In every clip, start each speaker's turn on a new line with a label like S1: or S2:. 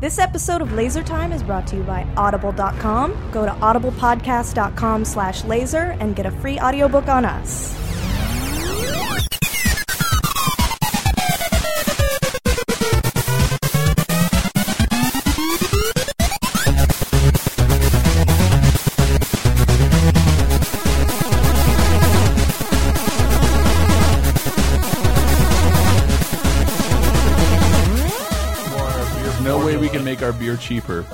S1: This episode of Laser Time is brought to you by Audible.com. Go to audiblepodcast.com slash laser and get a free audiobook on us.
S2: There's no way we can make our beer cheaper.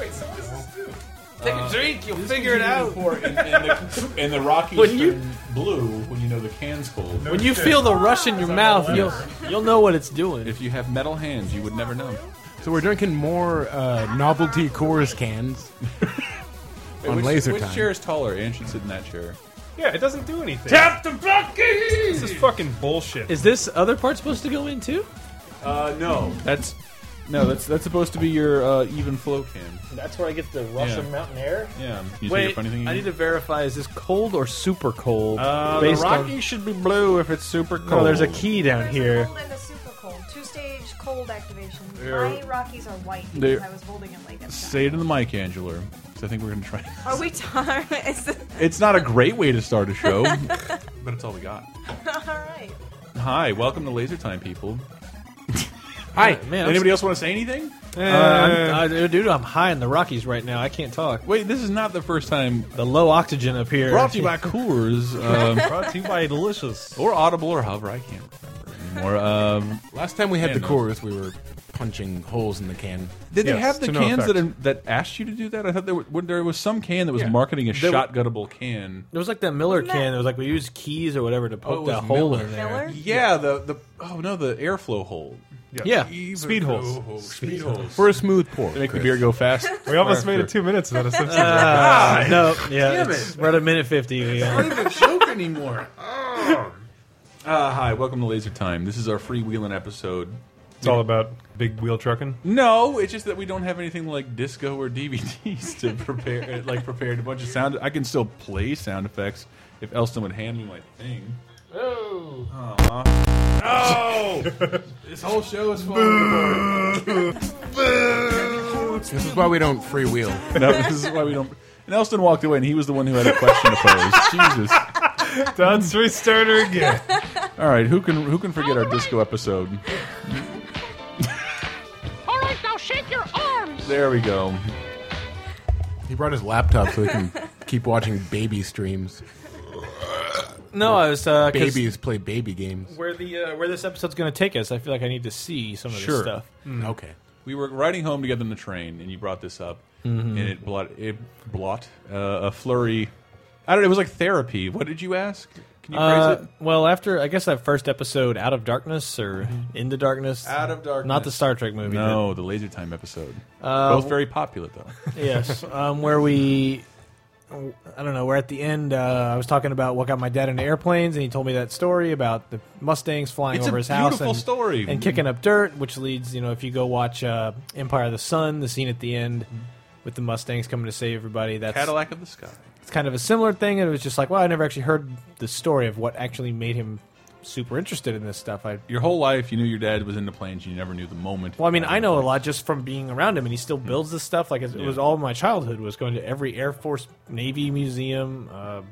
S3: Take
S2: Uh,
S3: a drink, you'll figure it out.
S2: And, and the, and the Rockies
S3: When you-
S2: turn blue when you know the can's cold.
S3: When you feel the rush in your mouth, you'll you'll know what it's doing.
S2: If you have metal hands, you would never know.
S4: So we're drinking more uh, novelty Coors cans
S2: Hey,
S4: on
S2: which,
S4: laser
S2: which
S4: time.
S2: chair is taller? Anne should sit in that chair.
S5: Yeah, it doesn't do anything.
S3: Tap the bucket.
S5: This is fucking bullshit.
S3: Is this other part supposed to go in too?
S2: Uh, no, that's no, that's that's supposed to be your uh, even flow can.
S6: That's where I get the Russian
S2: Yeah.
S6: mountain air.
S2: Yeah. You
S3: Wait, I need to verify: is this cold or super cold?
S5: Uh, the
S3: based
S5: Rocky
S3: on
S5: should be blue if it's super cold.
S3: no, there's a key down here.
S1: cold and the super cold. Two stage cold activation.
S5: My
S1: Rockies are white
S2: because They're- I
S1: was holding him like
S2: say to the mic, Angela. 'cause I think we're gonna try.
S1: Are we tired? Is this
S2: It's not a great way to start a show, but it's all we got.
S1: all right?
S2: Hi, welcome to Laser Time, people.
S3: Hi, man. I'm
S2: Anybody else want to say anything?
S3: Uh, I'm, uh, dude, I'm high in the Rockies right now. I can't talk.
S2: Wait, this is not the first time.
S3: The low oxygen up here.
S2: Brought to you by Coors. Um,
S5: Brought to you by Delicious.
S2: or Audible or however I can't remember anymore. Um,
S4: Last time we had
S2: Yeah,
S4: the
S2: no.
S4: Coors, we were punching holes in the can.
S2: did they
S4: Yes,
S2: have the
S4: to no
S2: cans
S4: effect.
S2: that that asked you to do that? I thought there were, there was some can that was
S4: Yeah.
S2: marketing a
S4: There were-
S2: shotgunnable can.
S3: It was like that Miller
S1: Isn't that-
S3: can. It was like we used keys or whatever to poke
S2: it was
S3: that hole
S2: Miller.
S3: in there.
S1: Miller?
S2: Yeah, the the oh no, the airflow hole.
S3: Yeah.
S5: Speed holes.
S2: Oh, speed holes.
S4: For a smooth pour.
S2: They make the beer go fast.
S5: We almost made it two minutes without a Simpsons.
S3: Uh, no, yeah,
S2: Damn
S3: it's,
S2: it.
S3: we're at a minute fifty. We are.
S2: even a joke anymore. Uh, hi, welcome to Laser Time. This is our freewheeling episode.
S5: it's all about big wheel trucking.
S2: No, it's just that we don't have anything like disco or DVDs to prepare. uh, like prepared a bunch of sound. I can still play sound effects if Elston would hand me my thing. Oh, this whole show is falling
S4: This is why we don't freewheel.
S2: apart. No, this is why we don't. And Elston walked away, and he was the one who had a question to pose. Jesus.
S5: That's restarter again.
S2: All right, who can who can forget our disco episode?
S7: All right, now shake your arms.
S2: There we go.
S4: He brought his laptop so he can keep watching baby streams.
S3: No, I was uh, 'cause-
S4: Babies play baby games.
S3: where the uh, where this episode's going to take us. I feel like I need to see some of this
S2: Sure.
S3: stuff.
S4: Okay.
S2: We were riding home together in the train, and you brought this up,
S3: Mm-hmm.
S2: and it blot it blot uh, a flurry. I don't. know, It was like therapy. What did you ask? Can you
S3: Uh,
S2: phrase it?
S3: well, after I guess that first episode, Out of Darkness or Into Darkness,
S2: Out of Darkness.
S3: not the Star Trek movie.
S2: No, the Laser Time episode.
S3: Uh,
S2: Both very popular though.
S3: but- yes, um, where we. I don't know. We're at the end. Uh, I was talking about what got my dad into airplanes, and he told me that story about the Mustangs flying
S2: It's a
S3: over his house
S2: beautiful
S3: and,
S2: story.
S3: and kicking up dirt, which leads, you know, if you go watch uh, Empire of the Sun, the scene at the end with the Mustangs coming to save everybody. That's
S2: Mm-hmm. Cadillac of the Sky.
S3: it's kind of a similar thing, and it was just like, well, I never actually heard the story of what actually made him super interested in this stuff. I
S2: Your whole life, you knew your dad was into planes. You never knew the moment.
S3: Well, I mean, I know a lot just from being around him, and he still builds this stuff. Like it, it was all my childhood was going to every Air Force, Navy museum, uh,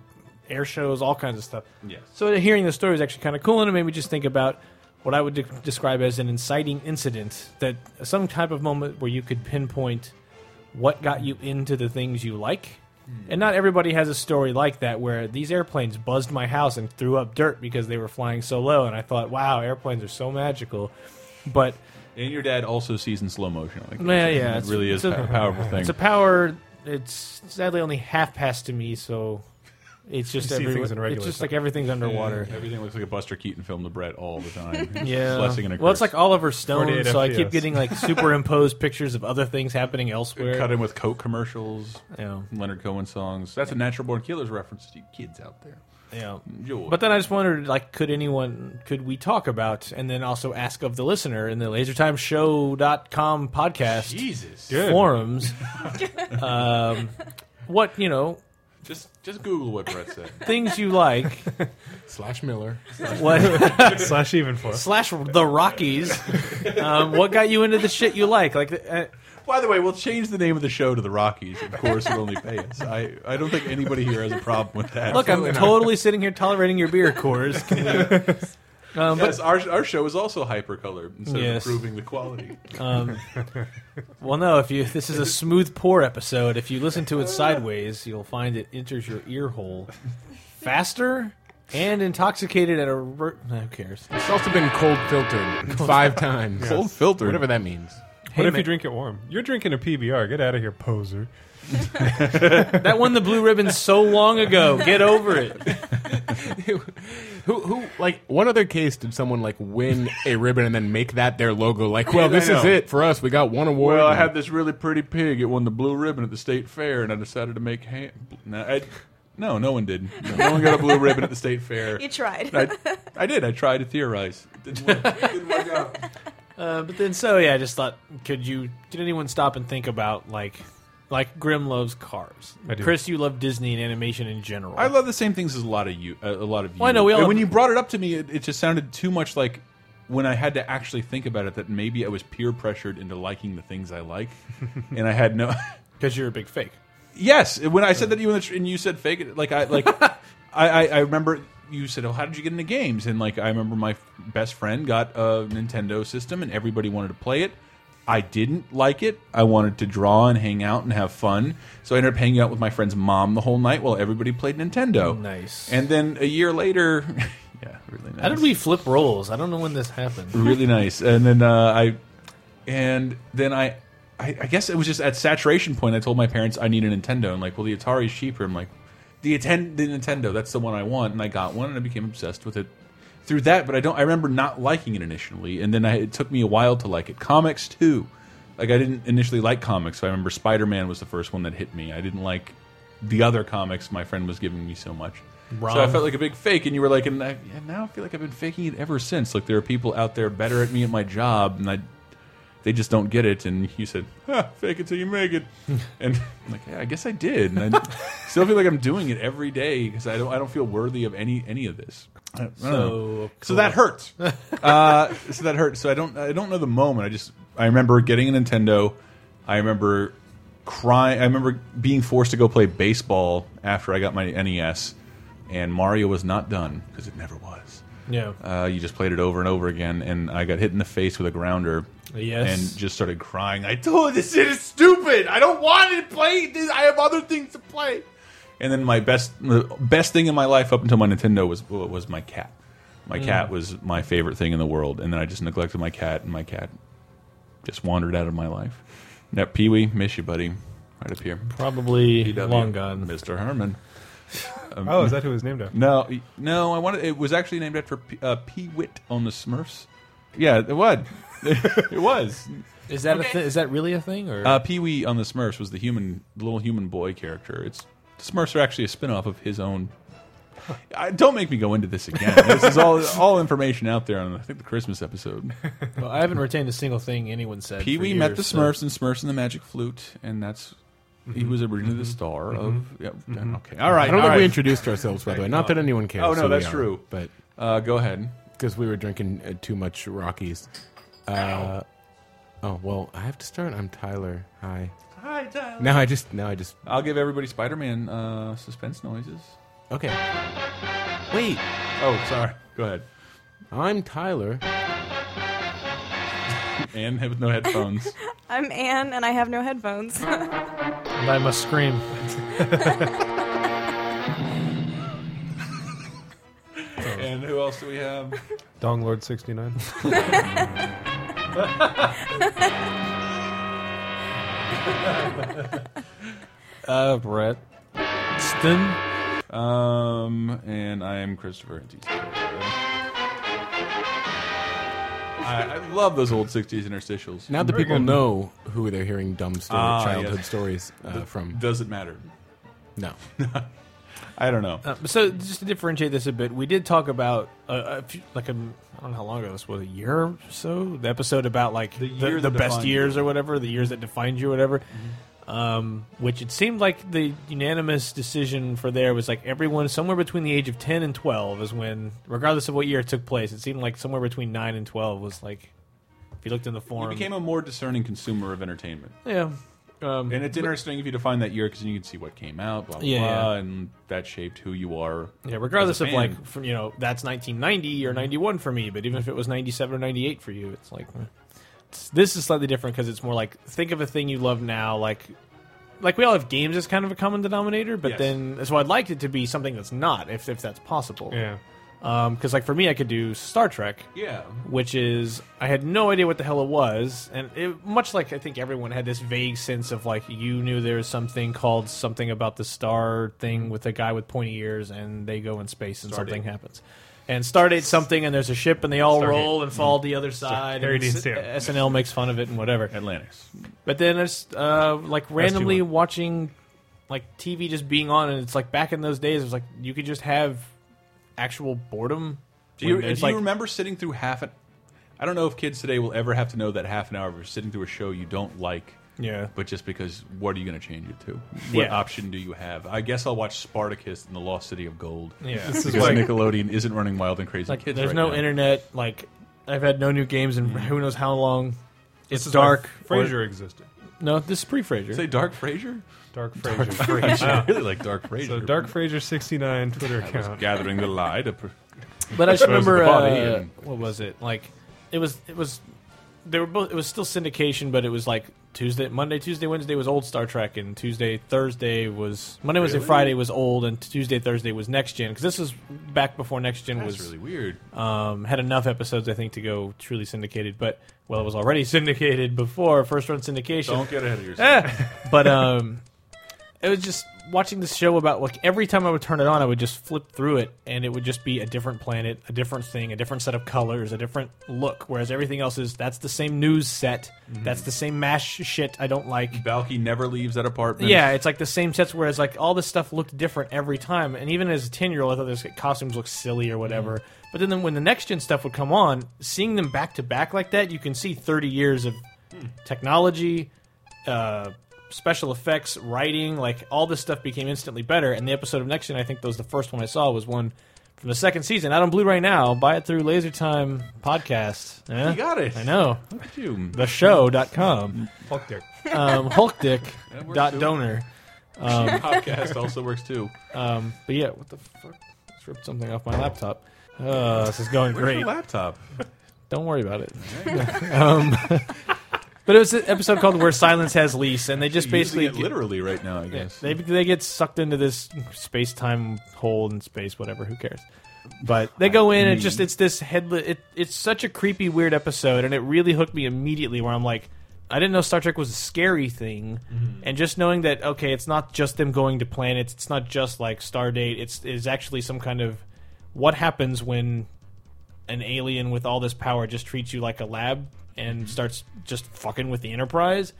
S3: air shows, all kinds of stuff.
S2: Yes.
S3: So hearing the story is actually kind of cool, and it made me just think about what I would de- describe as an inciting incident that some type of moment where you could pinpoint what got you into the things you like. And not everybody has a story like that where these airplanes buzzed my house and threw up dirt because they were flying so low. And I thought, wow, airplanes are so magical. But
S2: And your dad also sees in slow motion. Like,
S3: yeah,
S2: it's-
S3: yeah,
S2: It
S3: it's-
S2: really is
S3: it's a-
S2: a powerful thing.
S3: It's a power. It's sadly only half past to me, so it's just
S5: You see
S3: everywhere-
S5: things in regular
S3: It's just
S5: stuff.
S3: like everything's underwater.
S2: Everything looks like a Buster Keaton film to Brett all the time.
S3: Yeah.
S2: Blessing and a
S3: well, it's
S2: curse.
S3: like Oliver Stone,
S5: 48
S3: so I keep
S5: FPS.
S3: getting like superimposed pictures of other things happening elsewhere.
S2: cut in with Coke commercials,
S3: Yeah.
S2: Leonard Cohen songs. That's a natural born killers reference to you kids out there.
S3: Yeah.
S2: Enjoy.
S3: But then I just wondered, like, could anyone, could we talk about, and then also ask of the listener in the lasertimeshow.com podcast
S2: Jesus,
S5: Good.
S3: forums, um, what, you know,
S2: just just Google what Brett said.
S3: things you like,
S4: Slash Miller.
S3: what,
S5: Slash even for.
S3: slash the Rockies. um, what got you into the shit you like? Like, uh,
S2: By the way, we'll change the name of the show to the Rockies. Of course, it'll only pay us. I, I don't think anybody here has a problem with that.
S3: Look, I'm
S4: Absolutely not.
S3: totally sitting here tolerating your beer, Coors. Can we- um,
S2: yes, our, our show is also hypercolor instead
S3: Yes.
S2: of improving the quality.
S3: but, um, well, no. If you this is a smooth pour episode, if you listen to it sideways, you'll find it enters your ear hole faster and intoxicated at a. Re- who cares?
S4: It's also been cold filtered five times.
S2: Cold filter.
S4: Whatever that means.
S5: What if
S3: man.
S5: you drink it warm? You're drinking a PBR. Get out of here, poser.
S3: That won the blue ribbon so long ago. Get over it.
S4: Who, who, like, what other case did someone, like, win a ribbon and then make that their logo? Like, well,
S2: Yeah, I
S4: this is
S2: know.
S4: it for us. We got one award.
S2: Well, I had this really pretty pig. It won the blue ribbon at the state fair, and I decided to make ham. No, I, no, no one did. No, one got a blue ribbon at the state fair.
S1: You tried.
S2: I, I did. I tried to theorize. It didn't work. It didn't work out.
S3: Uh, but then, so yeah, I just thought, could you? Did anyone stop and think about like, like Grim loves cars?
S5: I do.
S3: Chris, you love Disney and animation in general.
S2: I love the same things as a lot of you. Uh, a lot of you.
S3: Well, I know, we all
S2: And
S3: have-
S2: when you brought it up to me, it, it just sounded too much like when I had to actually think about it. That maybe I was peer pressured into liking the things I like, and I had no.
S3: because you're a big fake.
S2: yes, when
S3: Uh.
S2: I said that to you in the tr- and you said fake it, like I like I, I I remember you said, "Oh, how did you get into games?" And like I remember my f- best friend got a Nintendo system, and everybody wanted to play it. I didn't like it. I wanted to draw and hang out and have fun. So I ended up hanging out with my friend's mom the whole night while everybody played Nintendo.
S3: Nice.
S2: And then a year later, yeah, really nice.
S3: How did we flip roles? I don't know when this happened.
S2: really nice. And then uh, I, and then I, I, I guess it was just at saturation point. I told my parents I need a Nintendo, and like, well, the Atari's cheaper. I'm like, the attend the Nintendo. That's the one I want, and I got one, and I became obsessed with it through that. But I don't. I remember not liking it initially, and then I, it took me a while to like it. Comics too. Like I didn't initially like comics. So I remember Spider Man was the first one that hit me. I didn't like the other comics my friend was giving me so much.
S3: Rom.
S2: So I felt like a big fake, and you were like, and, I, and now I feel like I've been faking it ever since. Like there are people out there better at me at my job, and I, they just don't get it. And you said, huh, "Fake it till you make it," and I'm like, yeah, I guess I did, and I still feel like I'm doing it every day because I don't, I don't feel worthy of any any of this. I don't- I don't know.
S3: So,
S2: so that hurts. uh, so that hurts. So I don't, I don't know the moment. I just, I remember getting a Nintendo. I remember crying. I remember being forced to go play baseball after I got my NES, and Mario was not done because it never was.
S3: Yeah.
S2: Uh, you just played it over and over again, and I got hit in the face with a grounder.
S3: Yes.
S2: And just started crying. I told this shit is stupid. I don't want to play this. I have other things to play. And then my best, the best thing in my life up until my Nintendo was was my cat. My
S3: Mm.
S2: cat was my favorite thing in the world, and then I just neglected my cat, and my cat just wandered out of my life. Now, Pee Wee, miss you, buddy. Right up here,
S3: Probably
S2: PW,
S3: long gone.
S2: Mr. Herman.
S5: Oh, is that who was named after?
S2: No, no, I wanted. It was actually named after P, uh, Pee Wit on the Smurfs. Yeah, it was. it was.
S3: Is that a
S1: Okay.
S3: th- is that really a thing or
S2: Uh, Pee Wee on the Smurfs was the human, the little human boy character. It's the Smurfs are actually a spin-off of his own. I, don't make me go into this again. this is all all information out there on I think the Christmas episode.
S3: Well, I haven't retained a single thing anyone said.
S2: Pee
S3: for
S2: Wee met
S3: years,
S2: the
S3: so-
S2: Smurfs and Smurfs and the Magic Flute, and that's he
S4: Mm-hmm.
S2: was originally the star of. Yeah, Okay, all right,
S4: I don't
S2: all
S4: think we
S2: right.
S4: introduced ourselves, by the way. Not that anyone cares.
S2: Oh, no,
S4: who we
S2: that's
S4: are,
S2: true.
S4: But
S2: uh, go ahead.
S4: because we were drinking uh, too much Rockies. Uh, oh well, I have to start. I'm Tyler. Hi.
S2: Hi, Tyler.
S4: Now I just. Now I just.
S2: I'll give everybody Spider-Man uh, suspense noises.
S4: Okay. Wait.
S2: Oh, sorry. Go ahead.
S4: I'm Tyler.
S2: And with no headphones.
S1: I'm Anne, and I have no headphones.
S3: And I must scream.
S2: and who else do we have?
S5: Dong Lord 69.
S3: Uh, Brett. Stin.
S2: Um, and I am Christopher. Antici. I, I love those old '60s interstitials.
S4: Now the people know who they're hearing dumb story,
S2: Ah,
S4: childhood
S2: yes.
S4: stories uh, from.
S2: Doesn't matter.
S4: no.
S2: I don't know.
S3: Uh, so just to differentiate this a bit, we did talk about uh, a few, like a, I don't know how long ago this was, a year or so, the episode about like the,
S2: year
S3: the
S2: that
S3: best
S2: defined you. Mm-hmm.
S3: years or whatever, the years that defined you, or whatever. Um, which it seemed like the unanimous decision for there was like everyone somewhere between the age of ten and twelve is when, regardless of what year it took place, it seemed like somewhere between nine and twelve was like If you looked in the forum,
S2: You became a more discerning consumer of entertainment.
S3: yeah. Um,
S2: And it's interesting if you define that year because you can see what came out, blah, blah,
S3: Yeah,
S2: blah,
S3: yeah.
S2: and that shaped who you are.
S3: Yeah, regardless
S2: as a
S3: of
S2: fan. Mm-hmm.
S3: like, from, you know, that's 1990 or 91 for me, but even if it was 97 or 98 for you, it's like eh. it's, this is slightly different because it's more like think of a thing you love now, like like we all have games as kind of a common denominator, but
S2: Yes.
S3: then so I'd like it to be something that's not, if if that's possible.
S5: Yeah.
S3: Because like for me, I could do Star Trek,
S2: Yeah.
S3: which is I had no idea what the hell it was, and it, much like I think everyone had this vague sense of like you knew there was something called something about the star thing with a guy with pointy ears, and they go in space and something happens. And Stardate something, and there's a ship, and they all
S5: Stargate.
S3: roll and fall to the other side.
S5: Harry
S3: and
S5: Dean
S3: S-
S5: Stanton.
S3: SNL makes fun of it and whatever.
S2: Atlantis.
S3: But then it's uh, like randomly
S5: too long.
S3: watching like TV just being on, and it's like back in those days, it was like you could just have actual boredom.
S2: Do you,
S3: when
S2: do
S3: there's,
S2: you
S3: like,
S2: remember sitting through half an I don't know if kids today will ever have to know that half an hour of sitting through a show you don't like.
S3: Yeah.
S2: But just because, what are you going to change it to? What
S3: Yeah.
S2: option do you have? I guess I'll watch Spartacus and the Lost City of Gold.
S3: Yeah.
S5: This is
S2: Because
S5: like,
S2: Nickelodeon isn't running wild and crazy
S3: like
S2: kids.
S3: there's
S2: right
S3: no
S2: now. Mm.
S3: internet like i've had no new games in who knows how long it's
S5: this is
S3: dark
S5: like Frasier existed.
S3: no this is pre-frasier
S2: Say Dark Frasier?
S5: Dark Frasier.
S2: I really like Dark Frasier.
S5: so Dark Frasier 69 Twitter account.
S2: gathering the lie to. pr-
S3: but i just remember
S2: the body
S3: uh,
S2: and-
S3: what was it like it was it was they were both it was still syndication but it was like tuesday monday tuesday wednesday was old star trek and tuesday thursday was monday was and friday was old and tuesday thursday was next gen because this was back before next gen
S2: That's
S3: was
S2: really weird.
S3: um, had enough episodes i think to go truly syndicated but well it was already syndicated before first run syndication
S2: Don't get ahead of yourself.
S3: Eh. but um, it was just watching this show about like every time I would turn it on, I would just flip through it, and it would just be a different planet, a different thing, a different set of colors, a different look. Whereas everything else is that's the same news set, that's the same mash shit I don't like.
S2: Balky never leaves that apartment.
S3: Yeah, it's like the same sets. Whereas like all this stuff looked different every time. And even as a ten year old, I thought those costumes looked silly or whatever.
S2: Mm.
S3: But then, then when the next gen stuff would come on, seeing them back to back like that, you can see thirty years of
S2: Hmm.
S3: technology, uh, special effects, writing, like all this stuff became instantly better. And the episode of next gen, I think that was the first one I saw was one. From the second season, out on Blu-ray now. Buy it through Laser Time podcast. Eh?
S2: You got it.
S3: I know. Um,
S2: Fuck you.
S3: The show.com.
S5: Fuck Dick.
S3: Um, Hulkdick
S2: That works
S3: dot
S2: too.
S3: donor.
S2: podcast also works too.
S3: Um, but yeah, what the fuck? Just ripped something off my laptop. Uh, this is going
S2: Where's
S3: great.
S2: your laptop?
S3: Don't worry about it. um, but it was an episode called "Where Silence Has Lease," and they just
S2: You're
S3: basically
S2: using it literally right now, I guess.
S3: they they get sucked into this space time hole in space, whatever. Who cares? But they go in and just it's this headless. It, it's such a creepy, weird episode, and it really hooked me immediately. Where I'm like, I didn't know Star Trek was a scary thing, and just knowing that okay, it's not just them going to planets. It's not just like Stardate. It's is actually some kind of what happens when an alien with all this power just treats you like a lab and starts just fucking with the Enterprise,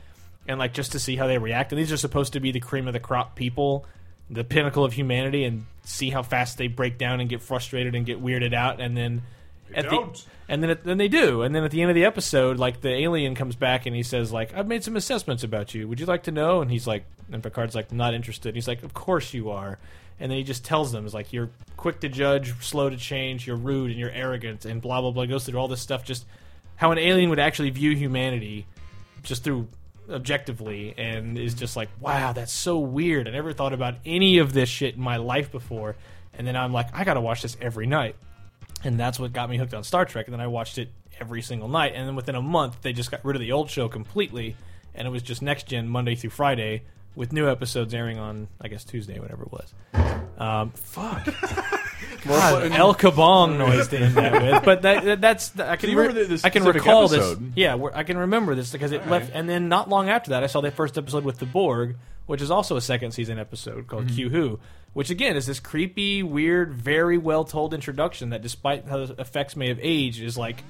S3: and like just to see how they react. And these are supposed to be the cream of the crop people, the pinnacle of humanity, and see how fast they break down and get frustrated and get weirded out, and then. At the,
S2: don't.
S3: and then at, then they do, and then at the end of the episode, like the alien comes back and he says, "Like I've made some assessments about you. Would you like to know?" And he's like, and Picard's like, "Not interested." And he's like, "Of course you are." And then he just tells them, "Is like you're quick to judge, slow to change, you're rude and you're arrogant, and blah blah blah." Goes through all this stuff, just how an alien would actually view humanity, just through objectively, and is just like, "Wow, that's so weird. I never thought about any of this shit in my life before." And then I'm like, "I gotta watch this every night." and that's what got me hooked on Star Trek. And then I watched it every single night. And then within a month, they just got rid of the old show completely, and it was just next gen Monday through Friday with new episodes airing on I guess Tuesday, whatever it was. Um, fuck. God, El Kabong noise to end that with, but that, that- that's I can
S2: you
S3: re-
S2: remember the- the
S3: I can
S2: specific
S3: recall
S2: episode?
S3: this. Yeah, where- I can remember this because it left, and then not long after that, I saw the first episode with the Borg, which is also a second season episode called
S2: Mm-hmm.
S3: Q Who, which again is this creepy, weird, very well told introduction that, despite how the effects may have aged, is like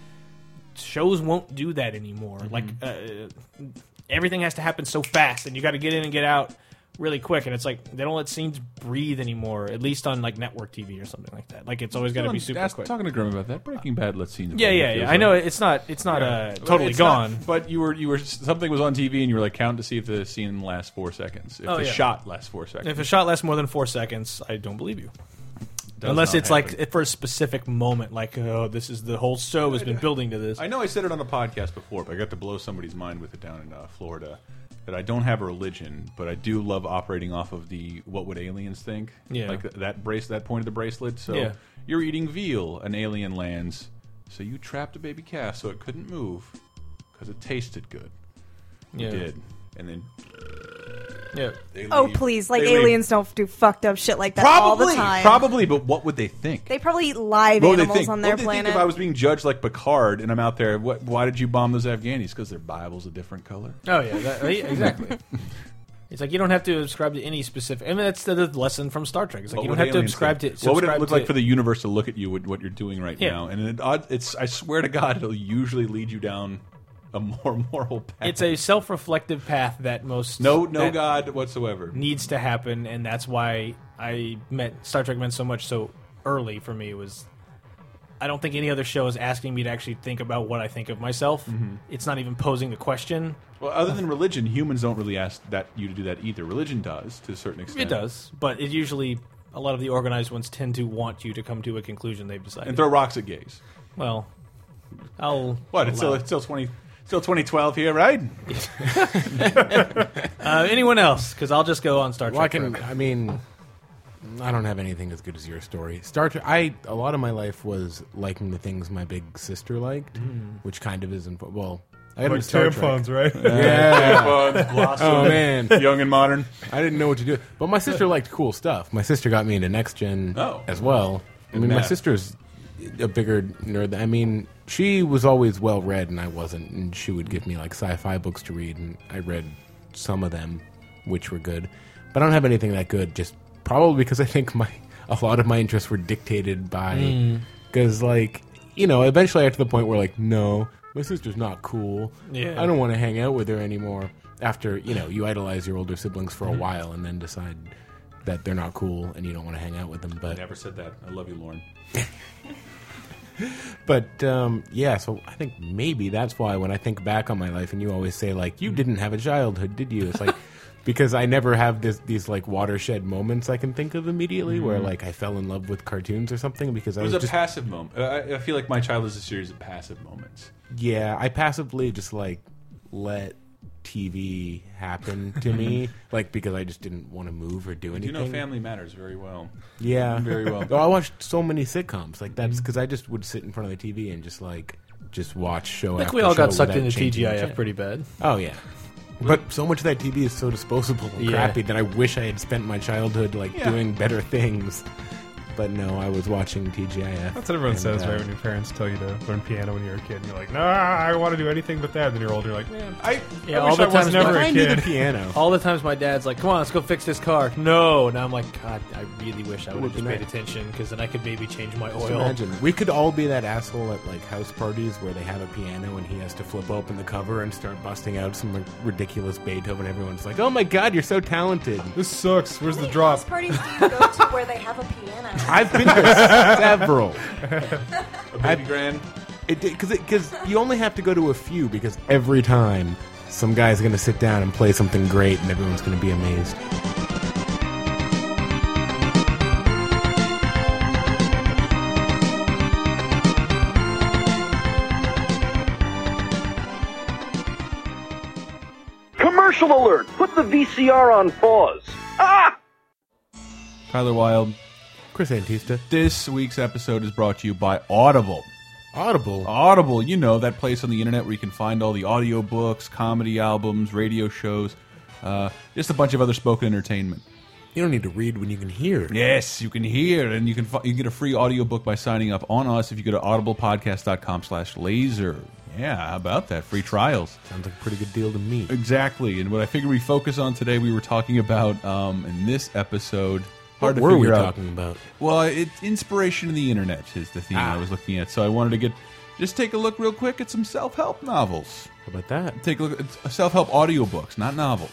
S3: shows won't do that anymore.
S2: Mm-hmm.
S3: Like uh, everything has to happen so fast, and you got to get in and get out really quick. And it's like they don't let scenes breathe anymore, at least on like network TV or something like that. Like it's always got to be super
S2: Ask-
S3: quick.
S2: Talking to Grim about that. Breaking Bad. Let's see.
S3: Yeah, yeah, yeah. I know it's not. It's not uh, totally gone.
S2: but you were you were something was on TV and you were like counting to see if the scene lasts four seconds, if
S3: Oh,
S2: the
S3: yeah.
S2: shot lasts four seconds.
S3: if a shot lasts more than four seconds, I don't believe you.
S2: does
S3: Unless
S2: not
S3: it's
S2: happen.
S3: like for a specific moment, like oh, this is the whole show has been building to this.
S2: I know I said it on a podcast before, but I got to blow somebody's mind with it down in uh, Florida. That I don't have a religion, but I do love operating off of the "what would aliens think?"
S3: Yeah.
S2: like th- that brace, that point of the bracelet. So
S3: Yeah.
S2: you're eating veal, an alien lands, so you trapped a baby calf so it couldn't move because it tasted good.
S3: yeah.
S2: It did, and then
S3: Yeah.
S2: they
S1: Oh,
S2: leave-
S1: please. Like,
S2: they leave.
S1: aliens don't do fucked up shit like that
S2: Probably,
S1: all the time.
S2: probably, but what would they think?
S1: They probably eat live
S2: What would they
S1: animals
S2: think?
S1: on
S2: What
S1: their
S2: would they think
S1: planet.
S2: if I was being judged like Picard and I'm out there, what, why did you bomb those Afghanis? Because their Bible's a different color.
S3: Oh yeah, that, yeah, exactly. It's like you don't have to subscribe to any specific. I mean, that's the, the lesson from Star Trek. It's like
S2: What
S3: you don't
S2: would
S3: have to
S2: aliens
S3: subscribe
S2: think?
S3: to.
S2: What would it
S3: subscribe
S2: look
S3: to-
S2: like for the universe to look at you with what you're doing right
S3: Yeah.
S2: now? And it, odd- it's I swear to God, it'll usually lead you down a more moral path.
S3: It's a self-reflective path that most
S2: no, no
S3: that
S2: God whatsoever.
S3: needs to happen, and that's why I met Star Trek meant so much so early for me was. I don't think any other show is asking me to actually think about what I think of myself.
S2: Mm-hmm.
S3: It's not even posing the question.
S2: Well, other than religion, humans don't really ask that you to do that either. Religion does to a certain extent.
S3: It does, but it usually a lot of the organized ones tend to want you to come to a conclusion they've decided.
S2: and throw rocks at gays.
S3: well, I'll
S2: What? It's still
S3: allow
S2: it's still twenty. Still 2012 here, right?
S3: Uh, anyone else? Because I'll just go on Star Trek.
S4: Well, I can.
S3: forever.
S4: I mean, I don't have anything as good as your story. Star Trek. I a lot of my life was liking the things my big sister liked,
S3: Hmm.
S4: which kind of isn't. Well, I got
S5: Like
S4: into Star Trek.
S5: tampons, right?
S4: Yeah.
S2: oh
S4: oh man,
S2: young and modern.
S4: I didn't know what to do. But my sister liked cool stuff. My sister got me into next gen
S2: Oh.
S4: as well. I mean, my
S2: math.
S4: sister's a bigger nerd. than- I mean, she was always well read, and I wasn't. And she would give me like sci fi books to read, and I read some of them, which were good. But I don't have anything that good. Just probably because I think my a lot of my interests were dictated by because like you know eventually I got to the point where like no. My sister's not cool.
S3: Yeah.
S4: I don't want to hang out with her anymore after you know you idolize your older siblings
S2: Mm-hmm.
S4: for a while and then decide that they're not cool and you don't want to hang out with them but
S2: Never said that. I love you, Lauren.
S4: but um, yeah so i think maybe that's why when i think back on my life and you always say like
S2: Mm-hmm.
S4: you didn't have a childhood did you it's like because i never have this, these like watershed moments i can think of immediately where like i fell in love with cartoons or something because i
S2: It Mm-hmm. was
S4: was
S2: a
S4: just
S2: passive moment. Uh, I, I feel like my child is a series of passive moments.
S4: Yeah, I passively just like let TV happen to me, like because I just didn't want to move or do
S2: You
S4: anything.
S2: know, Family Matters very well.
S4: Yeah,
S2: very well.
S4: Oh, I watched so many sitcoms like that's because I just would sit in front of the TV and just like just watch show.
S3: I think
S4: after
S3: we all got
S4: show
S3: sucked
S4: without
S3: into
S4: changing
S3: TGIF
S4: it.
S3: pretty bad.
S4: Oh yeah, but so much of that TV is so disposable and
S3: Yeah.
S4: crappy that I wish I had spent my childhood like
S2: Yeah.
S4: doing better things. But no, I was watching TGIF.
S5: That's what everyone
S4: And,
S5: says,
S4: uh,
S5: right? When your parents tell you to learn piano when you're a kid, and you're like, Nah, I want to do anything but that. And then you're older, you're like, Man,
S2: I
S3: Yeah,
S5: I
S3: all
S5: wish
S3: the
S5: I was
S3: times
S5: never
S3: my-
S5: a
S4: I knew the
S5: kid.
S4: piano.
S3: All the times my dad's like, "Come on, let's go fix this car." No, and I'm like, "God, I really wish I would have
S4: Would be
S3: just paid
S4: nice.
S3: attention because then I could maybe change my
S4: Just
S3: oil."
S4: imagine we could all be that asshole at like house parties where they have a piano and he has to flip open the cover and start busting out some like, ridiculous Beethoven. Everyone's like, "Oh my god, you're so talented!"
S5: This sucks. Where's the
S1: House
S5: drop?
S1: parties do you go to where they have a piano?
S4: I've been to several.
S2: a baby grand.
S4: It because because you only have to go to a few because every time some guy's gonna sit down and play something great and everyone's gonna be amazed.
S6: Commercial alert! Put the VCR on pause. Ah!
S2: Tyler Wilde.
S4: Chris Antista,
S2: This week's episode is brought to you by Audible.
S4: Audible.
S2: Audible, you know, that place on the internet where you can find all the audiobooks, comedy albums, radio shows, uh, just a bunch of other spoken entertainment.
S4: You don't need to read when you can hear.
S2: Yes, you can hear, and you can fi- you can get a free audiobook by signing up on us if you go to audiblepodcast.com slash laser. Yeah, how about that? Free trials.
S4: Sounds like a pretty good deal to me.
S2: Exactly. And what I figured we focus on today, we were talking about um, in this episode. Hard to
S4: What were we
S2: figure out.
S4: talking about?
S2: Well, it's inspiration in the internet is the theme
S4: Ah.
S2: I was looking at. So I wanted to get just take a look real quick at some self help novels.
S4: How about that?
S2: Take a look at self help audiobooks, not novels,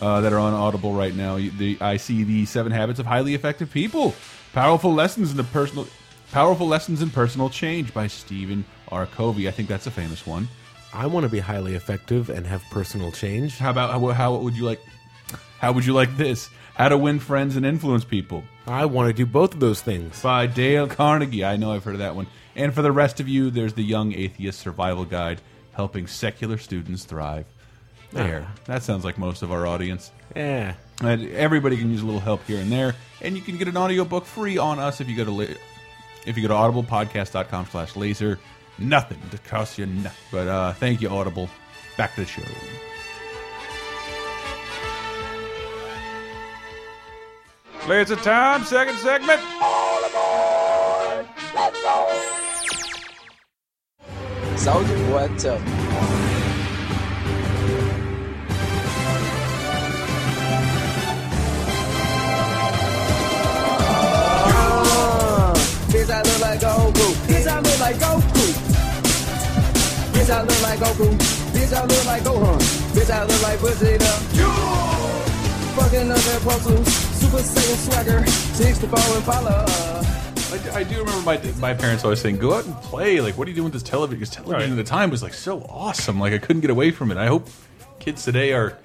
S2: uh, that are on Audible right now. You- The, I see the Seven Habits of Highly Effective People, powerful lessons in the personal, powerful lessons in personal change by Stephen R. Covey. I think that's a famous one.
S4: I want to be highly effective and have personal change.
S2: How about how, how would you like How would you like this? How to Win Friends and Influence People
S4: I want to do both of those things.
S2: by Dale Carnegie. I know I've heard of that one. And for the rest of you, there's the Young Atheist Survival Guide, helping secular students thrive. There. That sounds like most of our audience.
S4: Yeah.
S2: And everybody can use a little help here and there. And you can get an audiobook free on us if you go to la- if you go to audiblepodcast.com slash laser. Nothing to cost you nothing. But uh, thank you, Audible. Back to the show. Laser time, second segment.
S8: Saúde, what's up? Bitch, I look like Goku. Bitch, I look like Goku. Bitch, I look like Goku. Bitch, I look like Gohan. Bitch, I look like Vegeta. Fucking up that puzzle. Super Saiyan swagger. 64 Impala.
S2: I, do- I do remember my my parents always saying, "Go out and play." Like, what are you doing with this television? Because television
S5: Right.
S2: at the time was like so awesome. Like, I couldn't get away from it. I hope kids today are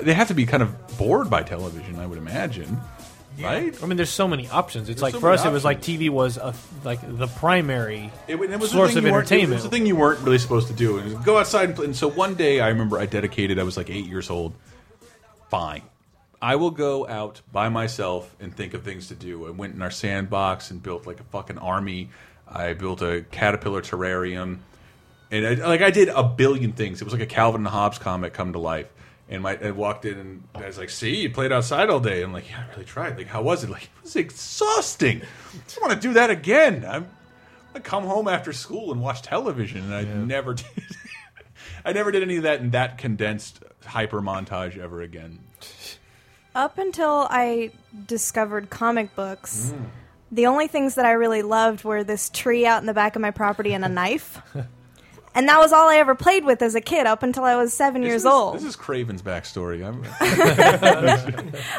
S2: they have to be kind of bored by television. I would imagine, right?
S3: I mean, there's so many options. It's like
S2: so
S3: for
S2: many
S3: us, it was like
S2: options.
S3: TV was a, like the primary.
S2: It, wa- it was
S3: Source
S2: a thing
S3: of
S2: you weren't- It
S3: entertainment.
S2: was the thing you weren't really supposed to do. And go outside and play. And so one day, I remember I dedicated. I was like eight years old. Fine, I will go out by myself and think of things to do. I went in our sandbox and built like a fucking army. I built a caterpillar terrarium, and I, like I did a billion things. It was like a Calvin and Hobbes comic come to life. And my, I walked in and I was like, "See, you played outside all day." I'm like, "Yeah, I really tried. Like, how was it? Like, it was exhausting. I just want to do that again. I'm I come home after school and watch television, and I never did. I never did any of that in that condensed hyper montage ever again.
S1: Up until I discovered comic books,
S2: Mm.
S1: the only things that I really loved were this tree out in the back of my property and a knife. And that was all I ever played with as a kid up until I was seven years
S2: This is-
S1: old.
S2: This is Craven's backstory. I'm,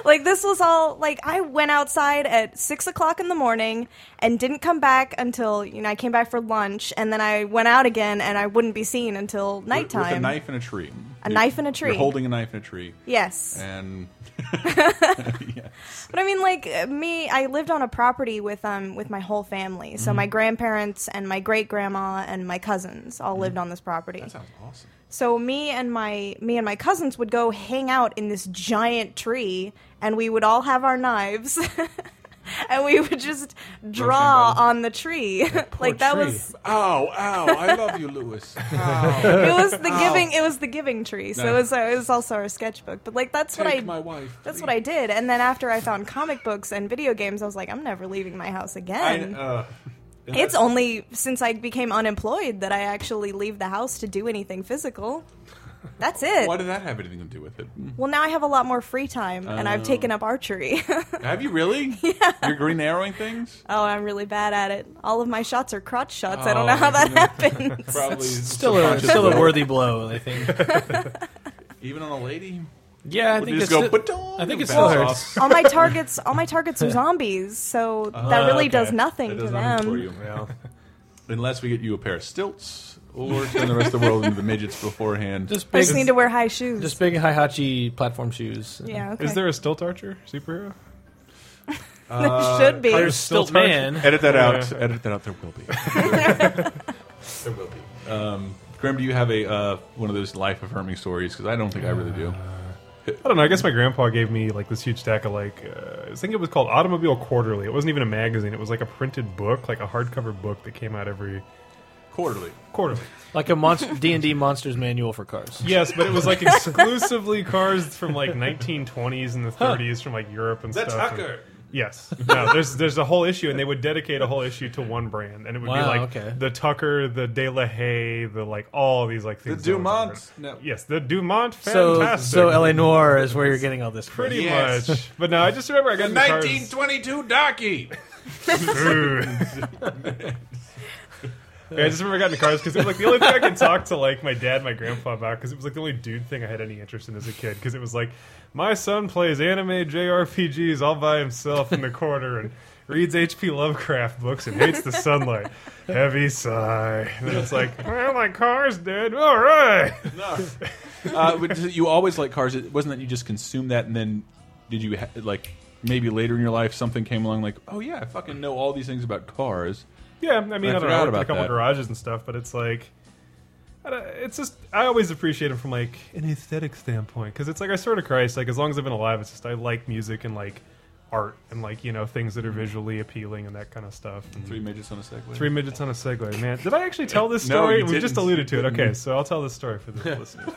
S1: like this was all like I went outside at six o'clock in the morning and didn't come back until you know I came back for lunch and then I went out again and I wouldn't be seen until
S2: with
S1: nighttime.
S2: a knife and a tree.
S1: A knife and a tree.
S2: You're holding a knife and a tree,
S1: Yes,
S2: and
S1: but I mean like uh, me, I lived on a property with um with my whole family, so
S2: Mm-hmm.
S1: my grandparents and my great grandma and my cousins all lived on this property.
S2: Mm-hmm. that sounds awesome.
S1: So me and my me and my cousins would go hang out in this giant tree, and we would all have our knives, and we would just draw
S2: Rosenbaum.
S1: on the tree. like that was
S2: Ow, ow! I love you, Lewis. Ow,
S1: it was the
S2: Oh.
S1: giving it was the giving tree. So
S2: No.
S1: it was uh, it was also our sketchbook. But like that's what I
S2: take my wife.
S1: that's
S2: please.
S1: what I did. And then after I found comic books and video games, I was like, I'm never leaving my house again.
S2: I, uh,
S1: it's only since I became unemployed that I actually leave the house to do anything physical. That's it.
S2: why did that have anything to do with it?
S1: Well, now I have a lot more free time, and I've taken up archery. oh,
S2: Have you really? Yeah. You're green arrowing things.
S1: I'm really bad at it. All of my shots are crotch shots. I
S2: Oh,
S1: don't know how that happened.
S2: Probably
S3: Still a,
S2: subconscious
S3: still a
S2: vote.
S3: worthy blow, I think.
S2: Even on a lady.
S3: Yeah, I
S2: Would
S3: think
S2: you just
S3: it's
S2: go,
S3: still,
S2: "Ba-dong,"
S3: I
S2: and
S3: think it still
S2: bounce
S3: hurts.
S2: off?
S1: all my targets, all my targets are zombies, so that really
S3: okay.
S1: does nothing
S2: Uh-huh. That
S1: to
S2: does
S1: them.
S2: nothing for you. Unless we get you a pair of stilts or turn the rest of the world into the midgets beforehand.
S3: Just
S1: I
S3: big,
S1: just need to wear high shoes.
S3: just big hihachi platform shoes.
S1: yeah, okay.
S5: Is there a stilt archer superhero?
S2: uh,
S1: there should be.
S3: There's still
S5: Stilt
S3: man.
S2: Edit that out. Edit that out. There will be. there will be. Um, Graham, do you have a uh, one of those life affirming stories? Because I don't think I really do.
S5: I don't know. I guess my grandpa gave me like this huge stack of like uh, I was thinking it was called Automobile Quarterly. It wasn't even a magazine. It was like a printed book, like a hardcover book that came out every
S2: Quarterly.
S5: quarterly.
S3: like a monster D and D monsters manual for cars.
S5: yes, but it was like exclusively cars from like 1920s and the 30s from like Europe and
S2: That's
S5: stuff.
S2: Hucker.
S5: Yes. No, there's there's a whole issue, and they would dedicate a whole issue to one brand, and it would be
S3: Wow,
S5: like
S3: okay.
S5: the Tucker, the De La Haye, the like all these like things. that were
S2: Dumont
S5: different.
S2: network.
S5: Yes, the Dumont.
S3: So,
S5: Fantastic.
S3: so L.A. Noir is where you're getting all this. from.
S5: Pretty
S2: Yes.
S5: much. But no, I just remember I got in the cars-
S2: 1922 Docky.
S5: Yeah, I just remember I got in cars because it was like the only thing I could talk to like my dad, and my grandpa about because it was like the only dude thing I had any interest in as a kid because it was like my son plays anime JRPGs all by himself in the corner and reads H.P. Lovecraft books and hates the sunlight. Heavy sigh. And then it's like, well, my car's dead. All right.
S2: Uh, but you always like cars. It wasn't that you just consumed that, and then did you ha like maybe later in your life something came along like, oh yeah, I fucking know all these things about cars.
S5: Yeah, I mean, I,
S2: I
S5: don't know.
S2: forgot
S5: I worked in
S2: about
S5: a couple
S2: that.
S5: garages and stuff, but it's like, I don't- it's just I always appreciate it from like an aesthetic standpoint because it's like I swear to Christ, like as long as I've been alive, it's just I like music and like art and like you know things
S2: Mm-hmm.
S5: that are visually appealing and that kind of stuff. And
S2: Three midgets on a segue.
S5: Three midgets on a Segway, man. Did I actually tell this
S2: No,
S5: story?
S2: you
S5: we just
S2: didn't. Mm-hmm.
S5: alluded to it. Okay, so I'll tell this story for the listeners.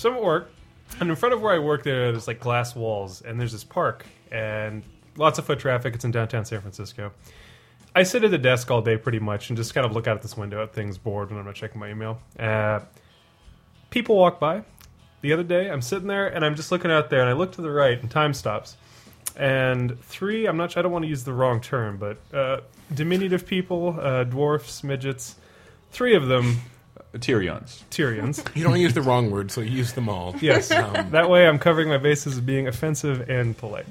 S5: so I'm at work, and in front of where I work, there's like glass walls, and there's this park, and lots of foot traffic. It's in downtown San Francisco. I sit at the desk all day pretty much and just kind of look out at this window at things, bored when I'm not checking my email. Uh, people walk by. The other day, I'm sitting there and I'm just looking out there, and I look to the right, and time stops. And three, I'm not. I don't want to use the wrong term, but uh, diminutive people, uh, dwarfs, midgets. Three of them,
S2: Tyrions.
S5: Tyrians.
S4: You don't use the wrong word, so use them all.
S5: Yes. that way I'm covering my bases of being offensive and polite.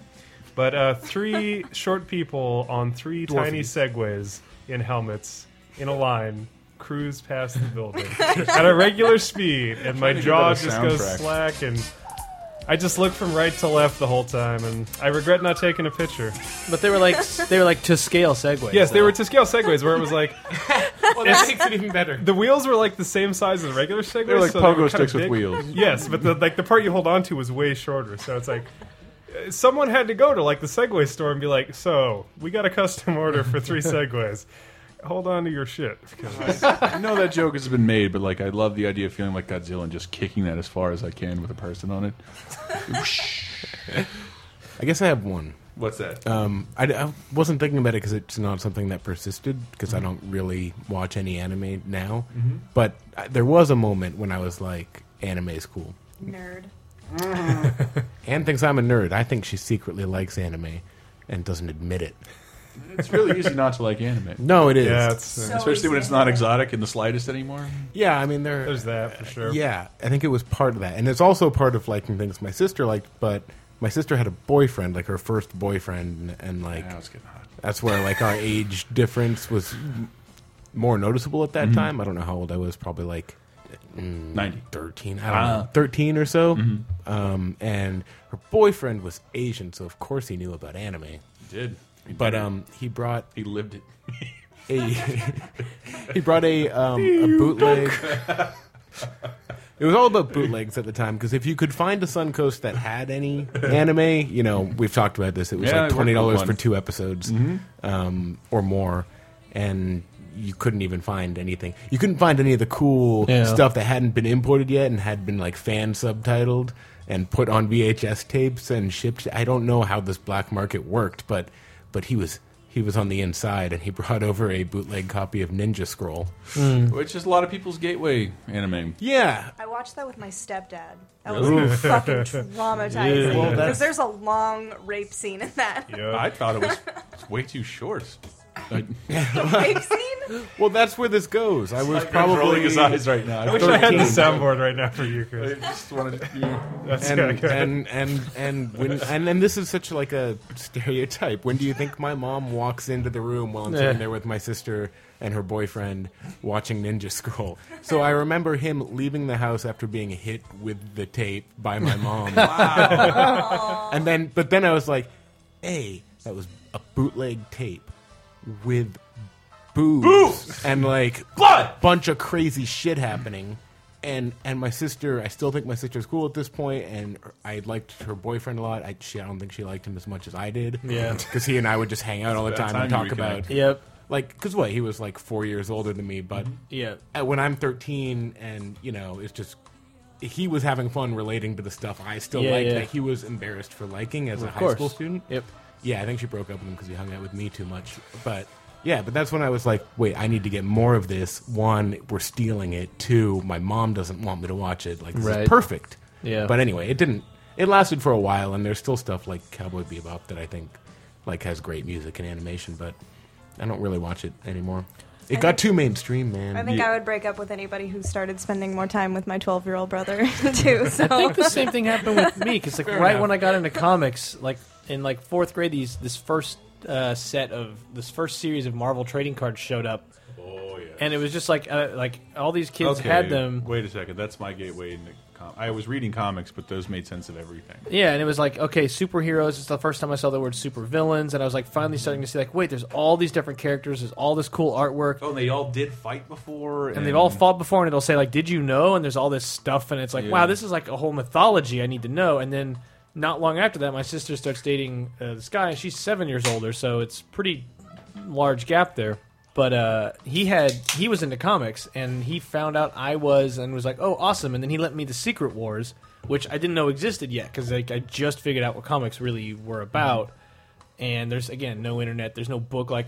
S5: But uh, three short people on three tiny segways in helmets in a line cruise past the building at a regular speed, and my
S2: to get
S5: jaw
S2: that a
S5: just goes
S2: soundtrack.
S5: slack and. I just look from right to left the whole time, and I regret not taking a picture.
S3: But they were like they were like to scale segways.
S5: Yes, they were to scale segways, where it was like
S3: Well, that makes it even better.
S5: the wheels were like the same size as a regular segway.
S2: They're like
S5: so
S2: pogo
S5: were kinda
S2: sticks with
S5: big.
S2: wheels.
S5: Yes, but the like the part you hold on to was way shorter. So it's like uh, someone had to go to like the Segway store and be like, "So we got a custom order for three Segways. Hold on to your shit." 'cause
S2: I know that joke has been made, but like I love the idea of feeling like Godzilla and just kicking that as far as I can with a person on it.
S4: I guess I have one.
S2: What's that?
S4: Um, I, I wasn't thinking about it because it's not something that persisted because
S5: Mm-hmm.
S4: I don't really watch any anime now. But I, there was a moment when I was like, anime is cool.
S1: Nerd.
S4: Anne thinks I'm a nerd. I think she secretly likes anime and doesn't admit it.
S2: it's really easy not to like anime,
S4: No, it is.
S5: yeah, it's, uh,
S2: especially when it's not exotic in the slightest anymore.
S4: Yeah, I mean, there.
S5: there's that for sure.
S4: Yeah, I think it was part of that, and it's also part of liking things my sister liked. But my sister had a boyfriend, like her first boyfriend, and, and like
S2: Now it's getting hot.
S4: that's where like our age difference was m- more noticeable at that
S5: Mm-hmm.
S4: time. I don't know how old I was, probably like
S2: Ninety.
S4: thirteen. I don't
S2: Ah. Mm-hmm.
S4: know, thirteen or so. Um, and her boyfriend was Asian, so of course he knew about anime.
S2: Did
S4: But um, he brought
S2: he lived it?
S4: a he brought a um, a bootleg. It was all about bootlegs at the time because if you could find a Suncoast that had any anime, you know, we've talked about this. It was
S2: Yeah, I
S4: like
S2: worked
S4: twenty dollars
S2: with
S4: for
S2: one.
S4: two episodes um, or more, and you couldn't even find anything. You couldn't find any of the cool
S3: Yeah.
S4: stuff that hadn't been imported yet and had been like fan subtitled and put on VHS tapes and shipped. I don't know how this black market worked, but but he was he was on the inside and he brought over a bootleg copy of Ninja Scroll.
S2: Which is a lot of people's gateway anime.
S4: Yeah,
S1: I watched that with my stepdad. That was fucking traumatizing. Because
S4: that's-
S1: there's a long rape scene in that.
S5: Yeah.
S2: I thought it was way too short. I,
S1: rape scene?
S4: Well, that's where this goes. I was
S2: probably
S4: probably
S2: his eyes right now.
S5: I wish I had the soundboard right now for you,
S2: I
S5: Chris.
S2: just wanted to-
S5: That's
S4: and
S5: kinda good.
S4: and and and when and, and this is such like a stereotype. When do you think my mom walks into the room while I'm
S3: Yeah.
S4: sitting there with my sister and her boyfriend watching Ninja Scroll? So I remember him leaving the house after being hit with the tape by my mom. and then, but then I was like, "Hey, that was a bootleg tape with." Boobs, and like
S2: Blood!
S4: bunch of crazy shit happening. And and my sister, I still think my sister's cool at this point, and I liked her boyfriend a lot. I, she, I don't think she liked him as much as I did.
S3: Yeah.
S4: because he and I would just hang out all the
S2: It's about
S4: time and
S2: time you
S4: talk about
S2: reconnected.
S3: Yep.
S4: like because what he was like four years older than me, but
S3: Yeah.
S4: uh, when I'm 13 and you know it's just he was having fun relating to the stuff I still
S3: Yeah,
S4: liked
S3: yeah.
S4: that he was embarrassed for liking as a high
S3: course.
S4: school student.
S3: Yep.
S4: Yeah, I think she broke up with him because he hung out with me too much. But yeah, but that's when I was like, wait, I need to get more of this. One, we're stealing it. Two, my mom doesn't want me to watch it. Like, this
S3: Right.
S4: is perfect.
S3: Yeah.
S4: But anyway, it didn't. It lasted for a while, and there's still stuff like Cowboy Bebop that I think like has great music and animation, but I don't really watch it anymore. It got too mainstream, man.
S1: I think I would break up with anybody who started spending more time with my 12 year old brother, too. So.
S3: the same thing happened with me because like right when I got into comics, like in like fourth grade, these this first uh, set of this first series of Marvel trading cards showed up,
S2: Oh yeah.
S3: and it was just like uh, like all these kids had them.
S2: Wait a second. That's my gateway into. Com- I was reading comics, but those made sense of everything.
S3: Yeah, and it was like, okay, superheroes. It's the first time I saw the word supervillains, and I was like, finally starting to see like, wait, there's all these different characters, there's all this cool artwork,
S2: Oh, and they all did fight before,
S3: and they've all fought before, and it'll say like, "Did you know?" And there's all this stuff, and it's like,
S2: Yeah.
S3: "Wow, this is like a whole mythology I need to know." And then not long after that, my sister starts dating uh, this guy. She's seven years older, so it's pretty large gap there. But uh, he had he was into comics, and he found out I was, and was like, "Oh, awesome!" And then he lent me the Secret Wars, which I didn't know existed yet because like I just figured out what comics really were about. And there's again no internet, there's no book like.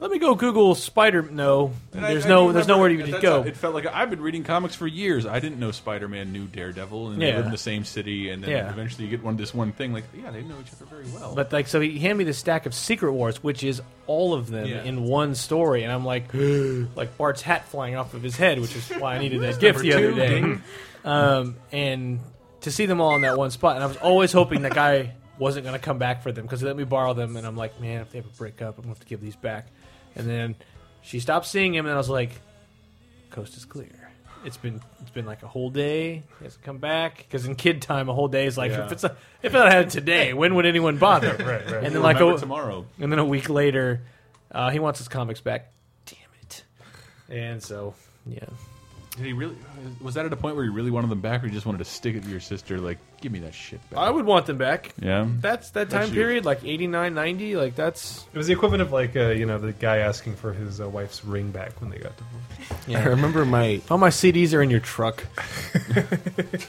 S3: Let me go Google Spider. No,
S2: And I-
S3: there's
S2: I
S3: no,
S2: do
S3: there's
S2: remember
S3: nowhere
S2: at
S3: you could
S2: that
S3: go.
S2: time, It felt like I've been reading comics for years. I didn't know Spider-Man knew Daredevil, and they
S3: Yeah.
S2: lived in the same city. And then
S3: Yeah.
S2: eventually, you get one this one thing. Like, yeah, they know each other very well.
S3: But like, so he handed me the stack of Secret Wars, which is all of them
S2: Yeah.
S3: in one story, and I'm like, like Bart's hat flying off of his head, which is why I needed that gift the
S2: number
S3: other
S2: two,
S3: day.
S2: ding.
S3: Um, and to see them all in that one spot, and I was always hoping that guy wasn't going to come back for them because let me borrow them, and I'm like, man, if they ever break up, I'm going to have to give these back. And then she stopped seeing him, and I was like, coast is clear. It's been it's been like a whole day. He hasn't come back because in kid time, a whole day is like
S2: Yeah.
S3: if it's a, if I had it today, when would anyone bother?
S5: right, right.
S3: And then
S2: We'll
S3: like oh,
S2: remember
S3: a,
S2: tomorrow,
S3: and then a week later, uh, he wants his comics back. Damn it! And so yeah,
S2: did he really? Was that at a point where you really wanted them back, or you just wanted to stick it to your sister? Like, give me that shit back.
S3: I would want them back.
S2: yeah.
S3: That's that
S2: That's
S3: time
S2: you.
S3: period, like 89, 90, like that's
S5: It was the equivalent of like uh, you know the guy asking for his uh, wife's ring back when they got divorced.
S4: I remember my
S3: all my CDs are in your truck.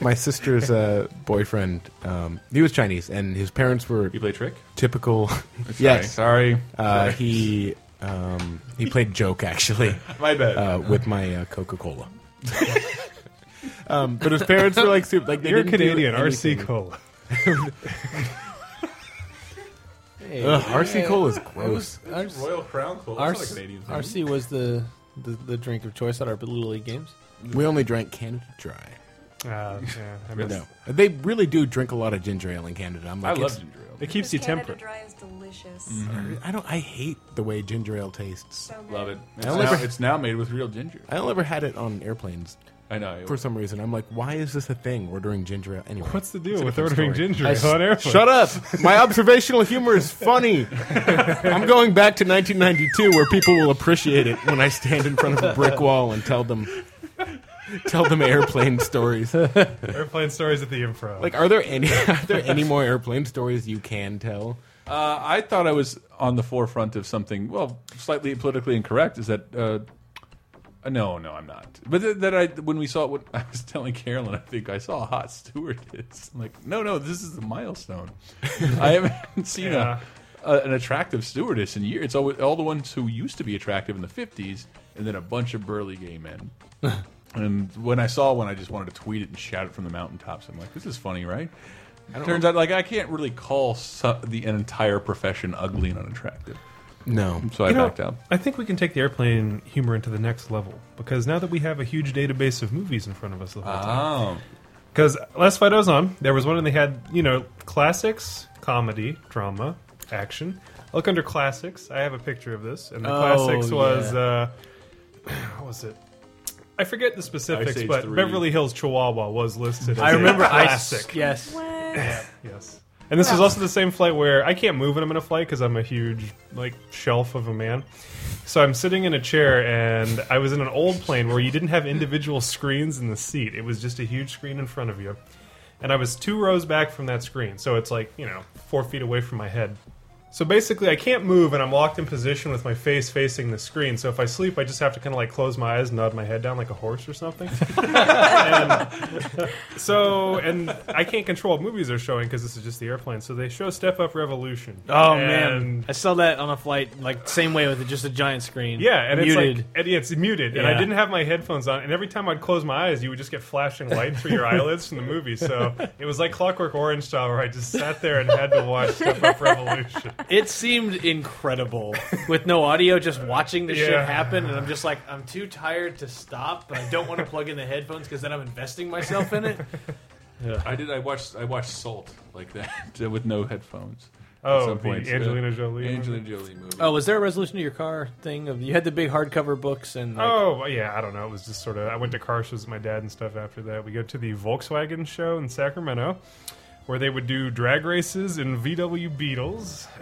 S4: my sister's uh, boyfriend. Um, he was Chinese, and his parents were
S2: you play trick?
S4: typical. yes,
S2: Sorry.
S4: uh, he um, he played joke actually
S2: My bad.
S4: uh, with my uh, Coca Cola. um, but his parents were like super. Like they
S5: You're
S4: didn't do
S5: Canadian,
S4: anything.
S5: RC Cola.
S4: Ugh, RC Cola is gross.
S2: Royal Crown Cola.
S3: Our-
S2: That's not a Canadian thing.
S3: RC was the, the the drink of choice at our little league games.
S4: We only drank Canada Dry.
S5: Uh, yeah, I miss-
S4: No, they really do drink a lot of ginger ale in Canada. I'm
S2: I
S4: like,
S2: love
S4: it's-
S2: ginger ale.
S5: It keeps you
S9: Canada
S5: temperate.
S9: Dry is delicious.
S4: I don't. I hate the way ginger ale tastes.
S9: So good.
S2: Love it. It's
S4: don't
S2: now,
S4: ever-
S2: it's now made with real ginger.
S4: I don't ever had it on airplanes
S2: I know.
S4: for some reason. I'm like, why is this a thing? Ordering ginger ale anyway.
S5: What's the
S4: it's
S5: deal
S4: a
S5: with
S4: different
S5: ordering
S4: story.
S5: ginger
S3: I
S5: ale
S3: s-
S5: on airplanes?
S4: Shut up! My observational humor is funny. I'm going back to 1992, where people will appreciate it when I stand in front of a brick wall and tell them, tell them airplane stories.
S5: Airplane stories at the improv.
S4: Like, are there any are there any more airplane stories you can tell?
S2: Uh, I thought I was on the forefront of something, well, slightly politically incorrect. Is that uh, no, no, I'm not. But th that I when we saw what I was telling Carolyn, I think I saw a hot stewardess. I'm like, no, no, this is a milestone. I haven't seen
S5: Yeah.
S2: a, a an attractive stewardess in years. It's all, all the ones who used to be attractive in the '50s, and then a bunch of burly gay men. And when I saw one, I just wanted to tweet it and shout it from the mountaintops. I'm like, this is funny, right? Turns out, like, I can't really call su the entire profession ugly and unattractive.
S4: No.
S2: So I
S5: You know,
S2: backed out.
S5: I think we can take the airplane humor into the next level because now that we have a huge database of movies in front of us the whole time.
S2: Oh,
S5: Because last fight I was on, there was one and they had you know classics, comedy, drama, action. Look under classics. I have a picture of this, and the
S3: Oh,
S5: classics was
S3: yeah.
S5: uh, what was it? I forget the specifics,
S2: Age
S5: but
S2: 3.
S5: Beverly Hills Chihuahua was listed. As
S3: I
S5: a
S3: remember
S5: classic.
S3: I yes.
S1: What?
S5: Yes. And this was also the same flight where I can't move when I'm in a flight because I'm a huge like shelf of a man. So I'm sitting in a chair, and I was in an old plane where you didn't have individual screens in the seat. It was just a huge screen in front of you, and I was two rows back from that screen, so it's like you know four feet away from my head. So basically, I can't move, and I'm locked in position with my face facing the screen. So if I sleep, I just have to kind of like close my eyes, nod my head down like a horse or something. So, and I can't control what movies they're showing because this is just the airplane. So they show Step Up Revolution.
S3: Oh
S5: And-
S3: man, I saw that on a flight, like same way with just a giant screen.
S5: Yeah, and
S3: muted.
S5: it's like and yeah, it's muted, and I
S3: Yeah.
S5: didn't have my headphones on, and every time I'd close my eyes, you would just get flashing light through your eyelids from the movie. So it was like Clockwork Orange style, where I just sat there and had to watch Step Up Revolution.
S3: It seemed incredible with no audio, just watching the shit
S5: Yeah.
S3: happen, and I'm just like, I'm too tired to stop, but I don't want to plug in the headphones because then I'm investing myself in it.
S2: I did. I watched. I watched Salt like that with no headphones.
S5: Oh,
S2: At some
S5: the
S2: point.
S5: Angelina Jolie movie?
S2: Angelina Jolie movie.
S3: Oh, was there a resolution to your car thing? Of you had the big hardcover books and like,
S5: Oh well, yeah, I don't know. It was just sort of. I went to car shows with my dad and stuff. After that, we go to the Volkswagen show in Sacramento, where they would do drag races in VW Beetles.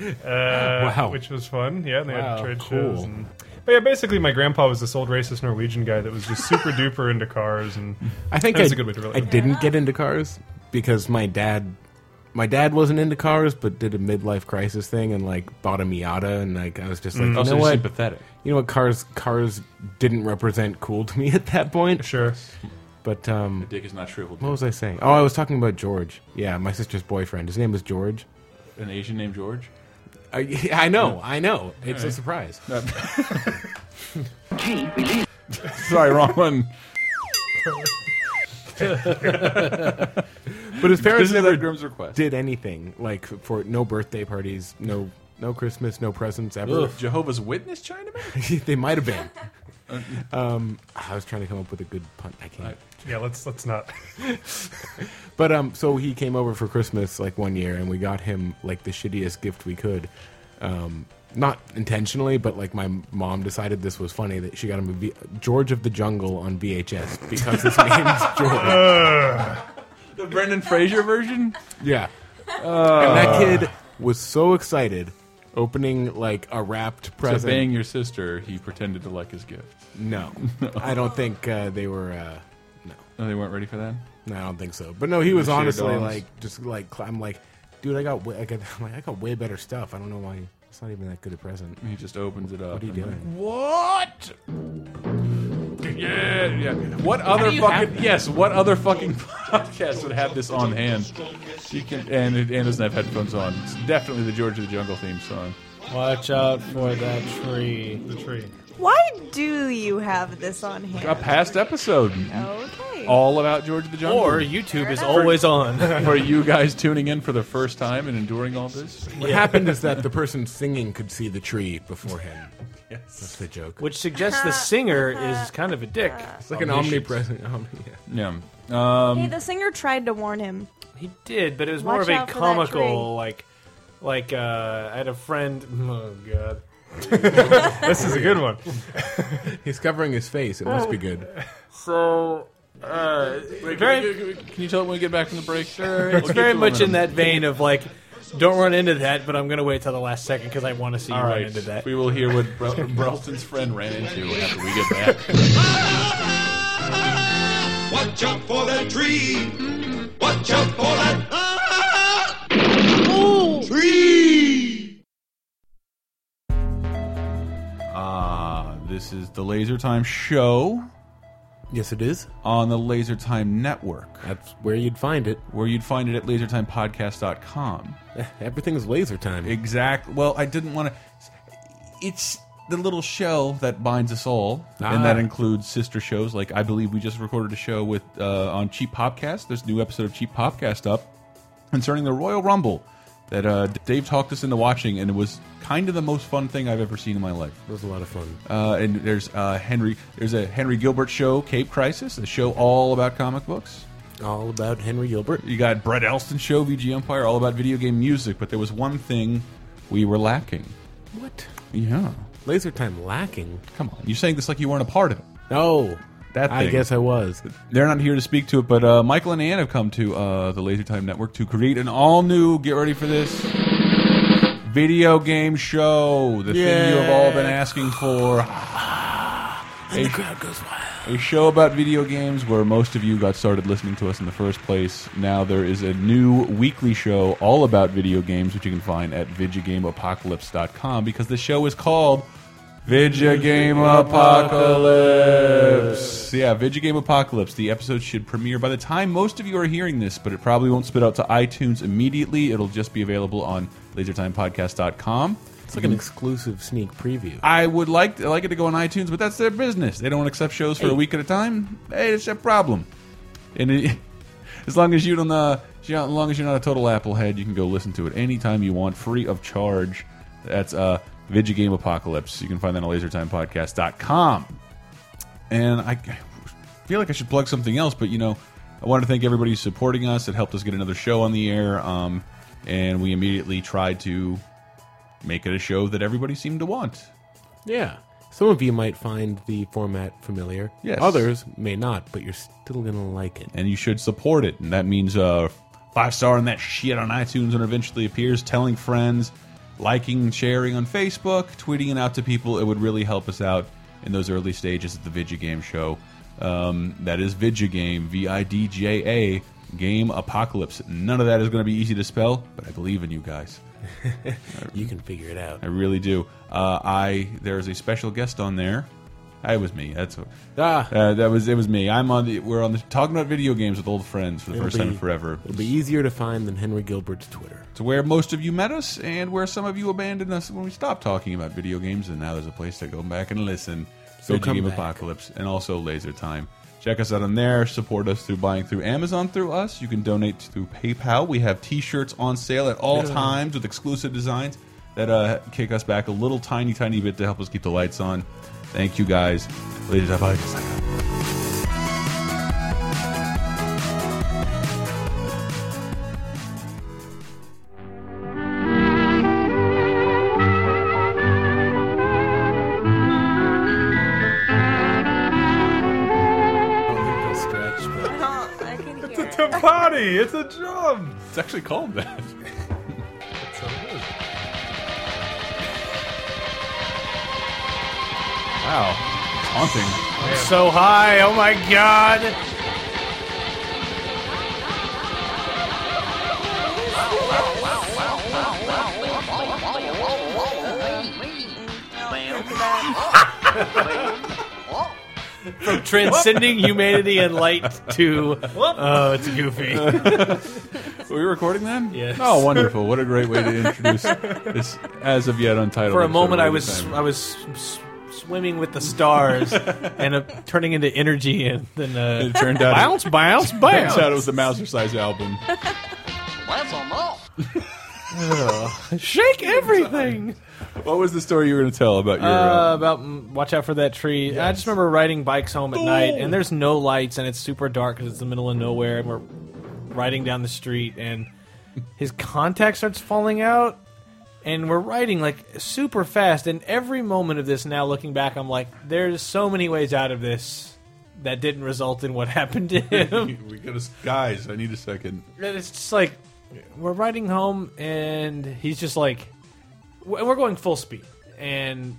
S5: uh,
S4: Wow.
S5: which was fun. Yeah, and they
S4: Wow,
S5: had trade
S4: cool.
S5: shows. And, but yeah, basically, my grandpa was this old racist Norwegian guy that was just super duper into cars and
S4: I think
S5: That's
S4: I-
S5: a good way to relate.
S4: I didn't get into cars because my dad, my dad wasn't into cars, but did a midlife crisis thing and like bought a Miata, and like I was just
S5: Oh,
S4: like, you
S2: Also
S4: know what,
S2: sympathetic.
S4: you know what, cars, cars didn't represent cool to me at that point.
S5: sure.
S4: But um,
S2: Dick is not shriveled.
S4: what was I saying? Oh, I was talking about George. Yeah, my sister's boyfriend. His name was George.
S2: An Asian named George.
S4: I, Uh, I know, I know. It's a surprise.
S2: Sorry, wrong one.
S4: But his
S2: This
S4: parents
S2: is our
S4: never
S2: Grimm's request.
S4: did anything like for no birthday parties, no no Christmas, no presents ever.
S2: Jehovah's Witness Chinaman?
S4: they might have been. um, I was trying to come up with a good pun. I can't.
S5: Yeah, let's let's not.
S4: But um, so he came over for Christmas like one year, and we got him like the shittiest gift we could. Um, not intentionally, but like my mom decided this was funny that she got him a v- George of the Jungle on VHS because his name's George.
S2: the Brendan Fraser version?
S4: Yeah, and that kid was so excited opening like a wrapped
S2: To
S4: present.
S2: bang your sister, he pretended to like his gift.
S4: No, I don't think uh, they were. Uh, no.
S2: No, they weren't ready for that?
S4: No, I don't think so. But no, he was
S2: Share
S4: honestly
S2: dogs.
S4: like, just like, cl- I'm like, dude, I got, way, I got, I'm like, I got way better stuff. I don't know why it's not even that good a present.
S2: He just opens it up.
S4: What are you
S2: and
S4: doing?
S2: What? Yeah, yeah. What other fucking yes? What other fucking podcast would have this on hand? You can, and it and doesn't have headphones on. It's definitely the George of the Jungle theme song.
S3: watch out for that tree.
S5: Oh. The tree.
S1: Why do you have this on
S2: A
S1: hand?
S2: past episode,
S1: Okay.
S2: all about George of the Jungle,
S3: Or YouTube is always on.
S2: for you guys tuning in for the first time and enduring all this.
S4: What happened is that the person singing could see the tree before him. yes, that's the joke. Oh,
S3: Which suggests the singer is kind of a dick.
S4: It's like an omnipresent. Omni, yeah.
S2: Yeah.
S1: hey, the singer tried to warn him.
S3: He did, but it was more
S1: Watch
S3: of a
S1: out for that tree.
S3: comical, like, like uh, I had a friend. Oh god,
S5: This is a good one.
S4: He's covering his face. It must be good.
S5: Oh,
S3: so. Uh, very,
S2: Can you tell it when we get back from the break? Sure.
S3: it's very much in that vein of like, don't run into that, but I'm gonna wait till the last second because I want to see you
S2: All
S3: run
S2: right.
S3: into that.
S2: We will hear what Br- Brelston's friend ran into after we get back.
S9: Watch out for that tree. Watch out for that tree.
S2: Ah, this is the Laser Time Show
S4: Yes, it is.
S2: on the Laser Time Network,
S4: That's where you'd find it.
S2: where you'd find it at lasertimepodcast.com.
S4: Everything's laser time.
S2: Exact. Well, I didn't want to. It's the little shell that binds us all,
S4: Ah.
S2: and that includes sister shows. Like I believe we just recorded a show with uh, on Cheap Popcast. There's a new episode of Cheap Popcast up concerning the Royal Rumble that uh, Dave talked us into watching, and it was kind of the most fun thing I've ever seen in my life.
S4: It was a lot of fun.
S2: Uh, and there's uh, Henry. There's a Henry Gilbert show, Cape Crisis, a show all about comic books.
S4: All about Henry Gilbert.
S2: You got Brett Elston show, VG Empire, all about video game music. But there was one thing we were lacking.
S4: What?
S2: Yeah,
S4: Laser time lacking.
S2: come on. You're saying this like you weren't a part of it.
S4: No,
S2: That
S4: I
S2: thing.
S4: guess I was.
S2: They're not here to speak to it, but uh, Michael and Ann have come to uh, the Laser Time Network to create an all new. Get ready for this. Video game show, the thing you have all been asking for.
S4: And the crowd goes wild.
S2: a show about video games where most of you got started listening to us in the first place. Now there is a new weekly show all about video games, which you can find at VigigameApocalypse.com because the show is called Vigigame Apocalypse. Yeah, Vigigame Apocalypse. The episode should premiere by the time most of you are hearing this, but it probably won't spit out to iTunes immediately. It'll just be available on LaserTimePodcast.com.
S4: It's like an exclusive sneak preview.
S2: I would like to, like it to go on iTunes, but that's their business. They don't accept shows for a week at a time. Hey, it's a problem. And it, as long as you don't, uh, as you- as long as you're not a total applehead, you can go listen to it anytime you want, free of charge. That's uh, Video Game Apocalypse. You can find that on LaserTimePodcast.com. And I feel like I should plug something else, but you know, I want to thank everybody who's supporting us. It helped us get another show on the air, um, and we immediately tried to make it a show that everybody seemed to want.
S4: Yeah. Some of you might find the format familiar.
S2: Yes.
S4: Others may not, but you're still going to like it.
S2: and you should support it. And that means uh, five star and that shit on iTunes when it eventually appears, telling friends, liking, sharing on Facebook, tweeting it out to people. It would really help us out in those early stages of the Vidya Game Show. Um, that is Vidya Game, V I D J A, Game Apocalypse. None of that is going to be easy to spell, but I believe in you guys.
S4: You can figure it out.
S2: I really do. Uh, I there's a special guest on there. It was me. That's
S4: Ah.
S2: uh, that was it was me. I'm on the we're on the talking about video games with old friends for the
S4: It'll
S2: first time in
S4: be-
S2: forever.
S4: It'll be easier to find than Henry Gilbert's Twitter.
S2: to where most of you met us and where some of you abandoned us when we stopped talking about video games and now there's a place to go back and listen
S4: So
S2: Video
S4: come
S2: Game
S4: back.
S2: apocalypse and also laser time check us out on there support us through buying through amazon through us you can donate through paypal we have t-shirts on sale at all times with exclusive designs that uh, kick us back a little tiny tiny bit to help us keep the lights on thank you guys laser time bye.
S1: Oh, I can hear it.
S5: It's a party. It's a drum.
S2: It's actually called that. wow. Haunting.
S3: So high, oh my god! From transcending humanity and light to oh, it's goofy.
S2: Were we recording then?
S3: Yes.
S2: Oh, wonderful. What a great way to introduce this as of yet untitled.
S3: For a
S2: episode
S3: moment,
S2: of
S3: I
S2: Laser
S3: was
S2: Time.
S3: I was s- swimming with the stars and uh, turning into energy, and then uh,
S2: It turned out-
S3: bounce, bounce, bounce.
S2: Turns out it was the Mouser Size album.
S3: Shake everything.
S2: What was the story you were going to tell about your.
S3: Uh,
S2: Uh,
S3: about mm, watch out for that tree. I just remember riding bikes home at night, and there's no lights, and it's super dark because it's the middle of nowhere, and we're riding down the street, and his contact starts falling out, and we're riding like super fast. And every moment of this, now looking back, I'm like, there's so many ways out of this that didn't result in what happened to him.
S2: we got to. Guys, I need a second.
S3: And it's just like we're riding home, and he's just like, and we're going full speed, and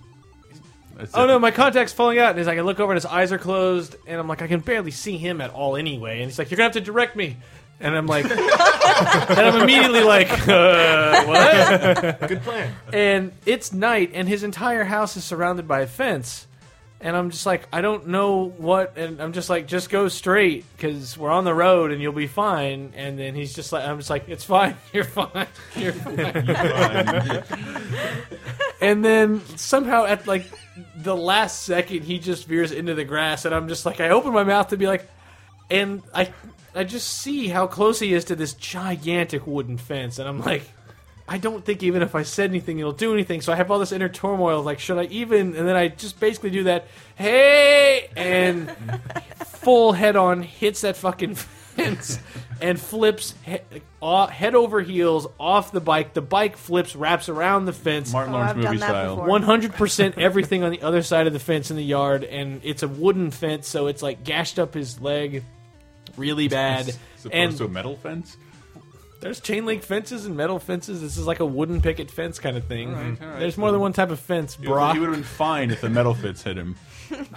S2: That's
S3: oh
S2: it.
S3: no, my contact's falling out. And he's like, I look over and his eyes are closed, and I'm like, I can barely see him at all anyway. And he's like, You're gonna have to direct me. And I'm like, and I'm immediately like, uh, what? Good plan. And it's night, and his entire house is surrounded by a fence. And I'm just like, I don't know what. And I'm just like, just go straight because we're on the road and you'll be fine. And then he's just like, I'm just like, it's fine. You're fine. You're fine. and then somehow at like the last second, he just veers into the grass. And I'm just like, I open my mouth to be like, and I, I just see how close he is to this gigantic wooden fence. And I'm like, I don't think even if I said anything, it'll do anything. So I have all this inner turmoil. Like, should I even? And then I just basically do that, hey, and full head on hits that fucking fence and flips he- aw- head over heels off the bike. The bike flips, wraps around the fence.
S2: Martin
S1: Oh,
S2: Lawrence
S1: I've
S2: movie
S1: done that
S2: style.
S1: before.
S3: One hundred percent everything on the other side of the fence in the yard, and it's a wooden fence, so it's like gashed up his leg really bad.
S2: As opposed
S3: and
S2: to a metal fence?
S3: there's chain link fences and metal fences. This is like a wooden picket fence kind of thing. Mm-hmm.
S2: right, all right.
S3: There's more than one type of fence,
S2: He would
S3: Brock.
S2: have been fine if the metal fits hit him.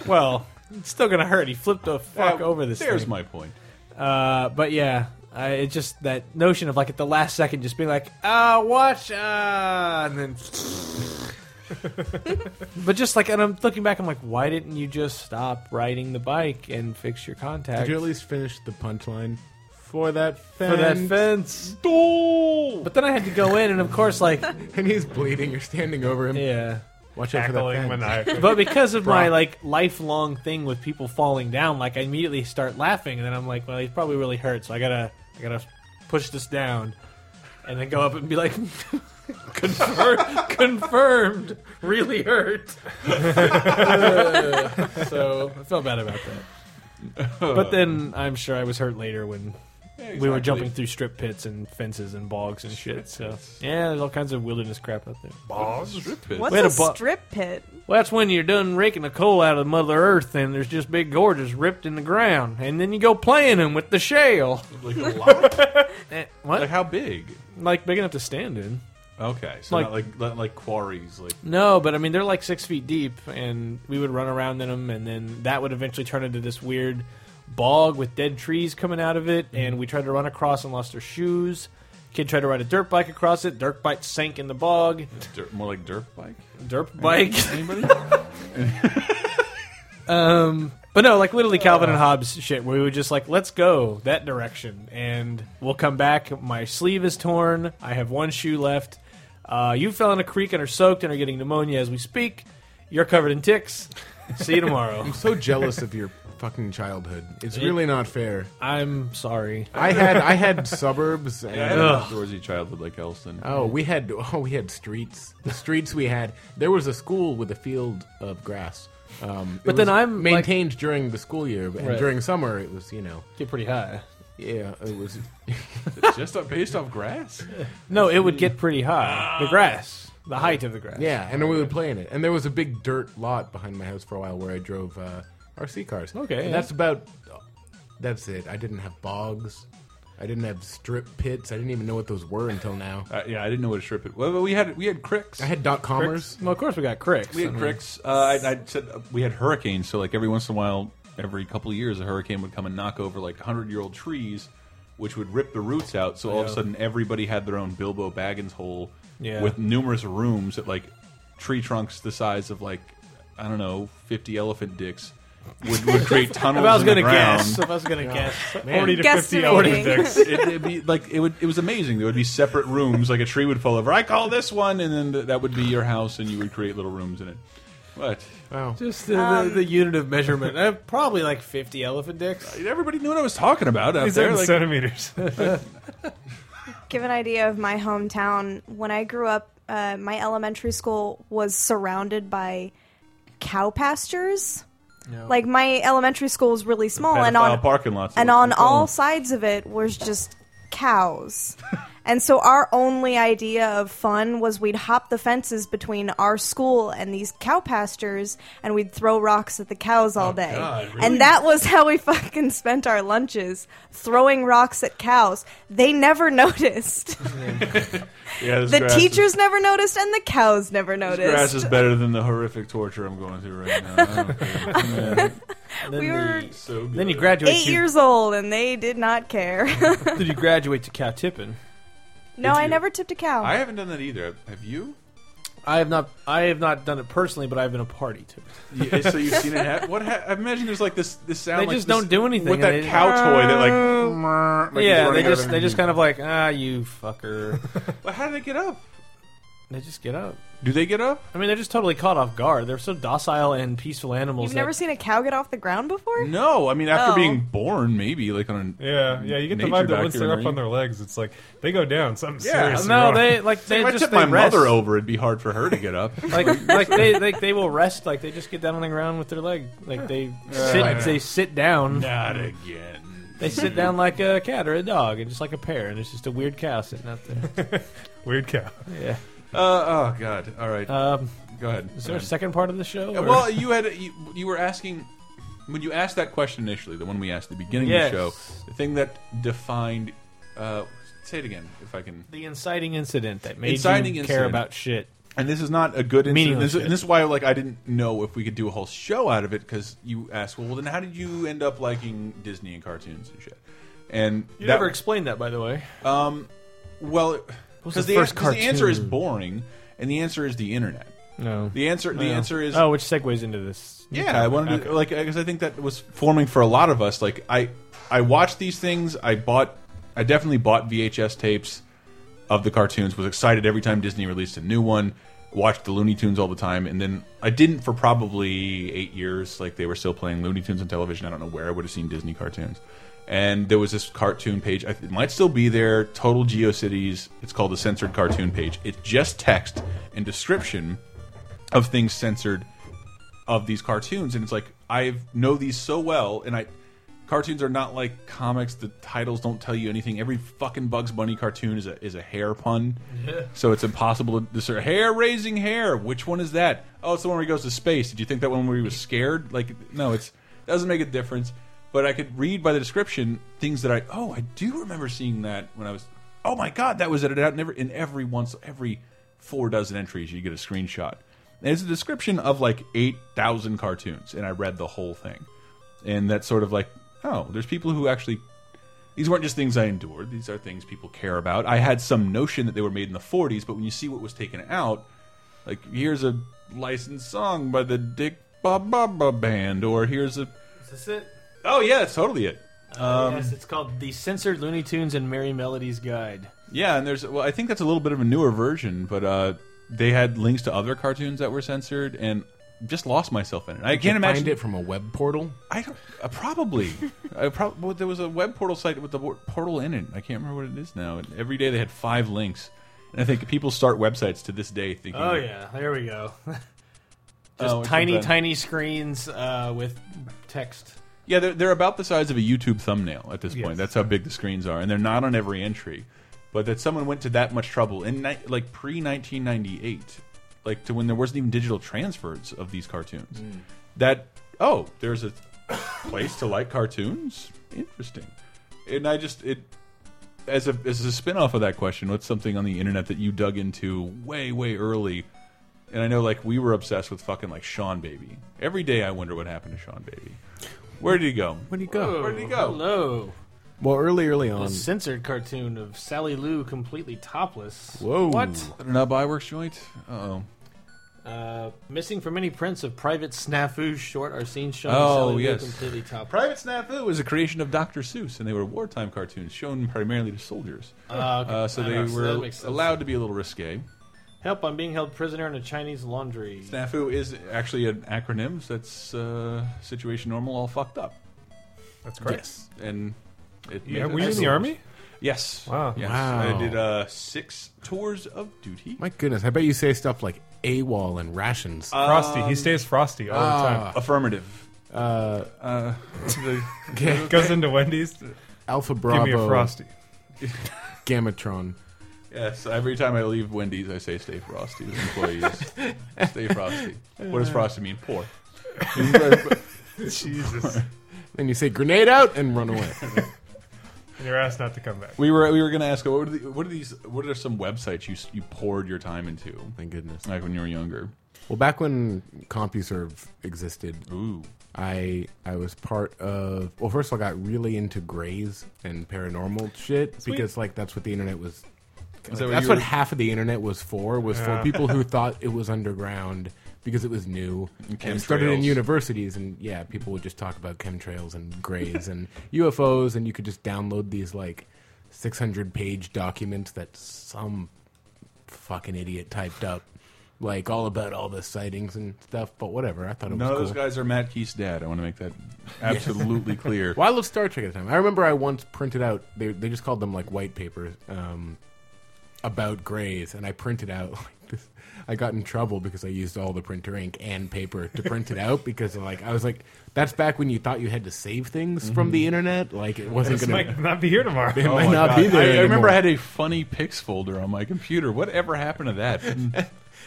S3: well, it's still gonna hurt. He flipped the fuck over this.
S2: There's
S3: thing.
S2: my point.
S3: Uh, but yeah, I, it's just that notion of like at the last second just being like, ah, watch, ah, and then. but just like, and I'm looking back, I'm like, why didn't you just stop riding the bike and fix your contact
S4: Did you at least finish the punchline? For that fence.
S3: for that fence? But then I had to go in, and of course, like,
S4: And he's bleeding. You're standing over him.
S3: yeah.
S4: Watch out for that
S5: Cackling
S4: fence.
S5: maniacally.
S3: But because of my like lifelong thing with people falling down, like I immediately start laughing, and then I'm like, well, he's probably really hurt, so I gotta, I gotta push this down, and then go up and be like, confirmed, confirmed, really hurt. so I felt bad about that. But then I'm sure I was hurt later when we were
S2: exactly.
S3: jumping through strip pits and fences and bogs and shit. So yeah, there's all kinds of wilderness crap out there.
S1: What's
S3: We had
S1: a
S3: a bu-
S1: strip pit?
S3: Well, that's when you're done raking the coal out of Mother Earth, and there's just big gorges ripped in the ground, and then you go playing them with the shale.
S2: Like a lot?
S3: Eh, what?
S2: like how big?
S3: Like big enough to stand in?
S2: Okay, so
S3: Like-
S2: not like not like quarries, like
S3: No, but I mean they're like six feet deep, and we would run around in them, and then that would eventually turn into this weird bog with dead trees coming out of it, and we tried to run across and lost our shoes. Kid tried to ride a dirt bike across it. Dirt bike sank in the bog.
S2: dirt, more like dirt bike.
S3: Dirt bike. Anybody? um, but no, like literally Calvin and Hobbes shit, where we were just like, let's go that direction, and we'll come back. My sleeve is torn. I have one shoe left. Uh, you fell in a creek and are soaked and are getting pneumonia as we speak. You're covered in ticks. See you tomorrow.
S4: so jealous of your fucking childhood. It's really not fair.
S3: I'm sorry.
S4: I had I had suburbs and
S2: I had an outdoorsy childhood like Elston.
S3: Uh,
S4: Oh, we had oh we had streets. The streets we had. There was a school with a field of grass. Um,
S3: But then I'm, like-
S4: maintained during the school year, but
S3: Right.
S4: and during summer it was you know
S3: Get pretty high.
S4: yeah it was
S2: Just up- based off grass.
S3: No, it would get pretty high. The grass, the height of the grass.
S4: yeah, and then we would play in it. And there was a big dirt lot behind my house for a while where I drove uh, RC cars.
S3: Okay,
S4: And
S3: yeah.
S4: that's about that's it. I didn't have bogs. I didn't have strip pits. I didn't even know what those were until now.
S2: Uh, yeah, I didn't know what a strip it. Well, but we had we had cricks.
S4: I had dot commerce.
S3: Well, of course we got cricks.
S2: we
S3: I
S2: had
S3: mean,
S2: cricks. Uh, I, I said uh, we had hurricanes. So like every once in a while, every couple of years, a hurricane would come and knock over like hundred year old trees, which would rip the roots out. So all of a
S3: Yeah.
S2: sudden, everybody had their own Bilbo Baggins hole
S3: Yeah.
S2: with numerous rooms at like tree trunks the size of like I don't know fifty elephant dicks. Would, would create tunnels.
S3: If I was
S2: in the
S3: gonna guess,
S2: ground.
S3: if I was gonna guess,
S5: Forty to fifty
S1: Guesstimating.
S5: elephant dicks.
S2: it, it'd be like it would. It was amazing. There would be separate rooms. Like a tree would fall over. I call this one, and then th that would be your house, and you would create little rooms in it. What?
S4: Wow.
S3: Just the,
S1: Um,
S3: the, the unit of measurement. Uh, probably like 50 elephant dicks.
S2: Everybody knew what I was talking about out
S5: These are
S2: there.
S5: in
S2: Like,
S5: centimeters.
S1: give an idea of my hometown. When I grew up, uh, my elementary school was surrounded by cow pastures. Like my elementary school was really small, and
S2: pedophile
S1: on
S2: parking lots,
S1: and
S2: that's
S1: on
S2: what they call
S1: all
S2: them.
S1: sides of it was just cows. and so our only idea of fun was we'd hop the fences between our school and these cow pastures, and we'd throw rocks at the cows all day.
S2: Oh, God,
S1: And that was how we fucking spent our lunches, throwing rocks at cows. They never noticed.
S2: yeah, this
S1: The
S2: grass
S1: teachers never noticed, and the cows never
S2: Is, this grass
S1: noticed.
S2: is better than the horrific torture I'm going through right now. I don't care. Man,
S3: then
S1: We
S3: the-
S1: were
S2: it's so good.
S3: then you graduate.
S1: eight
S3: to,
S1: years old, and they did not care.
S3: Then you graduate to cow tipping.
S1: no, I
S2: you-
S1: never tipped a cow.
S2: I haven't done that either. Have you?
S3: I have not. I have not done it personally, but I've been a party to it.
S2: Yeah, so you've seen it happen? What? Ha I imagine there's like this. This sound.
S3: They
S2: like
S3: just
S2: this-
S3: don't do anything,
S2: with that
S3: and they- Ah.
S2: cow toy that like. like
S3: yeah,
S2: it's
S3: they
S2: running out
S3: just
S2: of
S3: they
S2: energy.
S3: just kind of like ah, you fucker.
S2: But how do they get up?
S3: they just get up.
S2: Do they get up?
S3: I mean, they're just totally caught off guard. They're so docile and peaceful animals.
S1: You've
S3: that-
S1: never seen a cow get off the ground before?
S2: No, I mean after
S1: Oh.
S2: being born, maybe like on a
S5: Yeah, yeah. You get the
S2: Nature
S5: vibe that once
S2: doctor,
S5: they're up
S2: right?
S5: on their legs, it's like they go down. Something
S2: Yeah,
S5: serious. is
S3: No,
S5: wrong.
S3: they like they
S2: If I
S3: just
S2: tipped
S3: they
S2: my
S3: rest.
S2: mother over, it'd be hard for her to get up.
S3: Like like they like they will rest. Like they just get down on the ground with their leg. Like they sit they sit down.
S2: Not again.
S3: They sit down like a cat or a dog, and just like a pair, and it's just a weird cow sitting out there.
S5: weird cow.
S3: Yeah.
S2: Uh, oh God! All right,
S3: Um,
S2: go ahead.
S3: is there a second part of the show?
S2: Yeah,
S3: or-
S2: well, you had you, you were asking when you asked that question initially, the one we asked at the beginning of
S3: Yes.
S2: the show, the thing that defined. Uh, say it again, if I can.
S3: the inciting incident that made
S2: Inciting
S3: you care
S2: incident.
S3: about shit.
S2: And this is not a good incident.
S3: Meaningless
S2: This, is-
S3: shit.
S2: and this is why, like, I didn't know if we could do a whole show out of it because you asked, well, then how did you end up liking Disney and cartoons and shit? And
S3: You
S2: that-
S3: never explained that, by the way.
S2: Well, because
S3: the
S2: the,
S3: first
S2: 'cause the answer is
S3: cartoon?
S2: boring, and the answer is the internet.
S3: No.
S2: The answer, the answer is
S3: oh, which segues into this.
S2: yeah. I wanted to like because I think that was forming for a lot of us. Like I, I watched these things. I bought, I definitely bought VHS tapes of the cartoons. Was excited every time Disney released a new one. Watched the Looney Tunes all the time, and then I didn't for probably eight years. Like they were still playing Looney Tunes on television. I don't know where I would have seen Disney cartoons. And there was this cartoon page. I th- It might still be there. Total GeoCities. It's called the censored cartoon page. It's just text and description of things censored of these cartoons and it's like I know these so well and I Cartoons are not like comics. The titles don't tell you anything. Every fucking Bugs Bunny cartoon is a is a hair pun, so it's impossible to discern. Hair raising hair. Which one is that? Oh, it's the one where he goes to space. Did you think that one where he was scared? Like, no, it's doesn't make a difference. But I could read by the description things that I oh I do remember seeing that when I was oh my god that was it out never in every once every four dozen entries you get a screenshot. And it's a description of like eight thousand cartoons, and I read the whole thing and that's sort of like oh there's people who actually these weren't just things i endured these are things people care about i had some notion that they were made in the 40s but when you see what was taken out like here's a licensed song by the dick bob bob band or here's a
S3: Is this it?
S2: oh yeah that's totally it
S3: yes, it's called The Censored Looney Tunes and Merry Melodies Guide.
S2: yeah and there's well i think that's a little bit of a newer version but uh they had links to other cartoons that were censored and just lost myself in it. I can't imagine
S4: Find it from a web portal.
S2: I don't, uh, probably. I prob- well, there was a web portal site with the wor- portal in it. I can't remember what it is now. And every day they had five links, and I think people start websites to this day thinking,
S3: Oh yeah, there we go. Just
S2: Oh, it's
S3: tiny,
S2: not bad.
S3: tiny screens uh, with text.
S2: yeah, they're, they're about the size of a YouTube thumbnail at this point.
S5: Yes.
S2: That's how big the screens are, and they're not on every entry. But that someone went to that much trouble in ni like pre nineteen ninety eight, like to when there wasn't even digital transfers of these cartoons. That oh, there's a place to like cartoons. Interesting, and I just it as a as a spin-off of that question, what's something on the internet that you dug into way way early? And I know like we were obsessed with fucking like Sean Baby. Every day I wonder what happened to Sean Baby. Where did he go?
S4: Where'd you go?
S2: Where did he go?
S3: Hello.
S4: Well, early, early
S3: A
S2: Um,
S4: on.
S3: censored cartoon of Sally Lou completely topless.
S4: Whoa.
S3: What?
S2: I don't know, Byworks joint. Uh oh.
S3: Uh, missing from any prints of Private Snafu short are seen showing
S2: Oh,
S3: Sally Lou
S2: yes.
S3: completely topless.
S2: Private Snafu was a creation of Dr. Seuss, and they were wartime cartoons shown primarily to soldiers.
S3: Ah, okay.
S2: Uh, so
S3: I
S2: they
S3: know, so that
S2: were
S3: makes sense.
S2: allowed to be a little risque.
S3: Help! I'm being held prisoner in a Chinese laundry.
S2: Snafu is actually an acronym. So that's uh, situation normal, all fucked up.
S5: That's correct.
S2: Yes, and it
S5: Yeah,
S2: made
S5: were you in
S2: us-
S5: the army?
S2: Yes.
S5: Wow.
S2: Yes.
S4: Wow.
S2: I did uh, six tours of duty.
S4: My goodness. I bet you say stuff like AWOL and rations.
S5: Frosty. He stays frosty all the
S2: ah.
S5: time.
S2: Affirmative.
S4: Uh,
S2: Uh,
S4: Ga-
S5: Goes into Wendy's.
S4: Alpha
S5: Give
S4: Bravo.
S5: me a frosty.
S4: Gamatron.
S2: Yes. Every time I leave Wendy's, I say "Stay frosty" to the employees. stay frosty. What does frosty mean? Poor.
S5: Jesus.
S4: Then you say grenade out and run away.
S5: And you're asked not to come back.
S2: We were we were gonna ask what are, the, what are these what are some websites you s- you poured your time into
S4: My goodness.
S2: like when you were younger?
S4: Well, back when CompuServe existed,
S2: Ooh.
S4: I I was part of. Well, first of all, I got really into Grays and paranormal shit because like that's what the internet was.
S2: that what
S4: that's
S2: you
S4: what
S2: were-
S4: half of the internet was for. Was for people who thought it was underground because it was new. And it started in
S2: chemtrails.
S4: universities, and yeah, people would just talk about chemtrails and Grays and UFOs, and you could just download these like 600 page documents that some fucking idiot typed up. Like all about all the sightings and stuff, but whatever. I thought it was
S2: None of
S4: cool.
S2: those guys are Matt Keith's dad. I want to make that absolutely clear.
S4: Well, I love Star Trek at the time. I remember I once printed out. They they just called them like white papers um, about grays, and I printed out. Like this, I got in trouble because I used all the printer ink and paper to print it out because like I was like, that's back when you thought you had to save things from
S2: Mm-hmm.
S4: the internet. Like it wasn't
S5: This
S4: gonna.
S5: might not be here tomorrow. Oh,
S4: it might
S2: oh my
S4: not
S2: God.
S4: be there.
S2: I, I
S4: anymore.
S2: remember I had a funny pics folder on my computer. Whatever happened to that?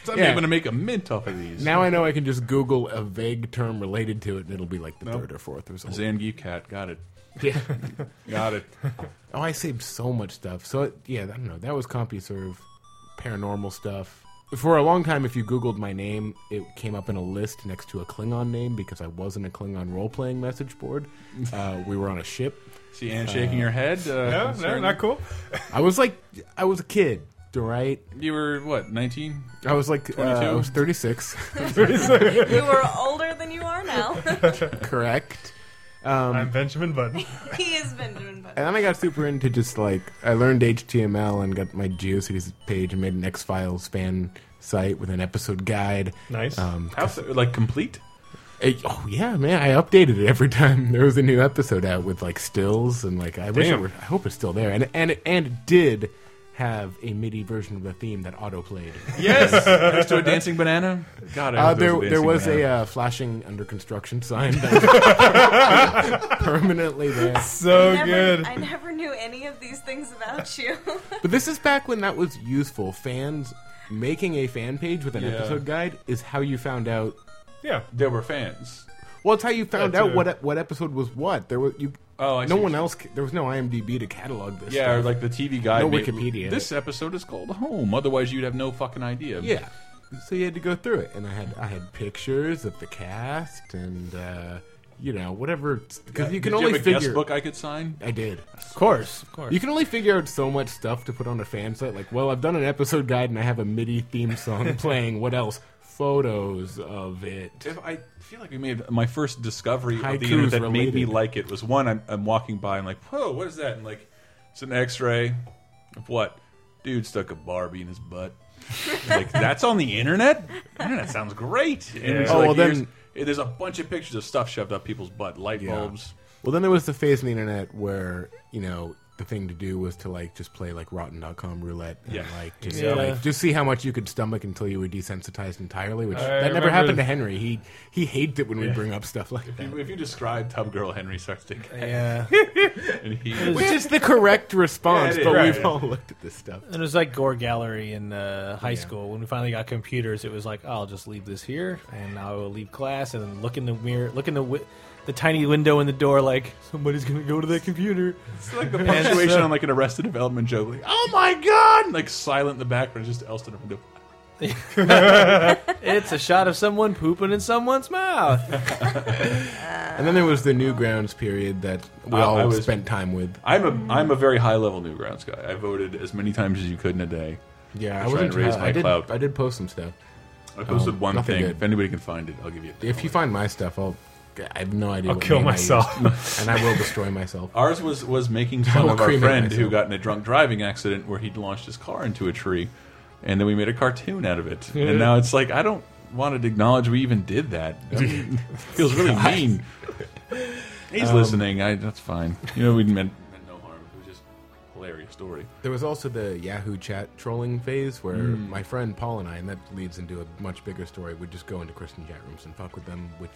S2: Someday
S4: Yeah.
S2: I'm going to make a mint off of these.
S4: Now I know I can just Google a vague term related to it, and it'll be like the third or fourth result.
S2: Zangief cat, got it,
S4: Yeah.
S2: got it.
S4: Oh, I saved so much stuff. So it- yeah, I don't know. That was CompuServe, paranormal stuff. For a long time, if you Googled my name, it came up in a list next to a Klingon name because I was in a Klingon role playing message board. Uh, we were on a ship.
S2: See Anne shaking her head. Uh,
S5: No, no,
S2: concerned.
S5: not cool.
S4: I was like, I was a kid, right?
S2: You were what? 19?
S4: I was like, uh, I
S2: 22?
S4: was 36,
S1: You were older than you are now.
S4: correct?
S5: I'm Benjamin Button.
S1: he is Benjamin Button.
S4: And then I got super into just like I learned HTML and got my GeoCities page and made an X Files fan site with an episode guide.
S5: Nice.
S4: Um,
S2: How so- like complete?
S4: Uh, oh yeah, man! I updated it every time there was a new episode out with like stills and like I wish it
S5: Damn.
S4: were. I hope it's still there. And and it, and it did have a MIDI version of the theme that auto played.
S2: Yes, next to a dancing banana. God, I
S4: Uh,
S2: hope
S4: there,
S2: a
S4: there
S2: dancing
S4: was a
S2: banana.
S4: uh, flashing under construction sign that was permanently there.
S2: Oh,
S5: So
S1: never,
S5: good.
S1: I never knew any of these things about you.
S4: But this is back when that was useful. Fans making a fan page with an
S2: Yeah.
S4: episode guide is how you found out.
S5: yeah.
S2: there were fans.
S4: Well, it's how you found
S5: That
S4: out
S5: too.
S4: what what episode was what. There was you.
S2: Oh, I see
S4: no
S2: what
S4: one
S2: you-
S4: else. ca- There was no IMDb to catalog this.
S2: Yeah, or
S4: stuff.
S2: like the TV guide.
S4: No
S2: made-
S4: Wikipedia.
S2: This episode is called Home. Otherwise, you'd have no fucking idea.
S4: yeah. So you had to go through it, and I had I had pictures of the cast and uh, you know whatever because you
S2: Did
S4: can
S2: you
S4: only
S2: have a
S4: figure.
S2: guest book I could sign.
S4: I did.
S3: Of course, of course.
S4: You can only figure out so much stuff to put on a fan site. Like, well, I've done an episode guide and I have a MIDI theme song playing. What else? Photos of it.
S2: If I feel like we made my first discovery of the
S4: Haikus
S2: internet that made me
S4: related.
S2: like it was one I'm, I'm walking by and like, whoa, what is that? And like, it's an X-ray of what? Dude stuck a Barbie in his butt. like that's on the internet. Internet sounds great. And it's
S4: Oh,
S2: like,
S4: well, then-
S2: here's- eh, there's a bunch of pictures of stuff shoved up people's butt, light bulbs.
S4: Well, then there was the phase in the internet where you know the thing to do was to like just play like Rotten.com roulette and
S2: Yeah.
S4: like just
S3: Yeah.
S4: like just see how much you could stomach until you were desensitized entirely. Which
S5: I
S4: that never
S5: remember-
S4: happened to Henry. He he hated it when we bring up stuff like that.
S2: If you- If you describe Tub Girl Henry Sexton,
S3: yeah.
S2: and he
S4: Which is the correct response,
S2: Yeah, it
S4: but
S2: is.
S4: we've
S2: Right.
S4: all looked at this stuff.
S3: And it was like Gore Gallery in uh, high school. When we finally got computers, it was like, "Oh, I'll just leave this here, and I will leave class, and then look in the mirror, look in the wi- the tiny window in the door, like somebody's gonna go to that computer.
S2: It's like the punctuation on like an Arrested Development joke, like "Oh my god!" and, like silent in the background, just Elston in the window.
S3: It's a shot of someone pooping in someone's mouth.
S4: And then there was the Newgrounds period that we
S2: I-
S4: all
S2: I was-
S4: spent time with.
S2: I'm a I'm a very high level Newgrounds guy. I voted as many times as you could in a day.
S4: Yeah, I
S2: try
S4: wasn't
S2: and raise
S4: too-
S2: my
S4: I did,
S2: clout.
S4: I did post some stuff.
S2: I posted
S4: Um,
S2: one
S4: nothing
S2: thing.
S4: good.
S2: If anybody can find it, I'll give you. A
S4: If you find my stuff, I'll. I have no idea.
S5: I'll
S4: what
S5: kill
S4: name I
S5: myself.
S4: used. and I will destroy myself.
S2: Ours was was making
S4: I
S2: fun
S4: will
S2: of our
S4: cremate
S2: friend who
S4: myself.
S2: got in a drunk driving accident where he'd launched his car into a tree, and then we made a cartoon out of it. and now it's like I don't want to acknowledge we even did that. I mean, it feels really mean. He's
S4: Um,
S2: listening. I that's fine. You know we meant, meant no harm. It was just a hilarious story.
S4: There was also the Yahoo chat trolling phase where
S2: Hmm.
S4: my friend Paul and I, and that leads into a much bigger story, would just go into Christian chat rooms and fuck with them, which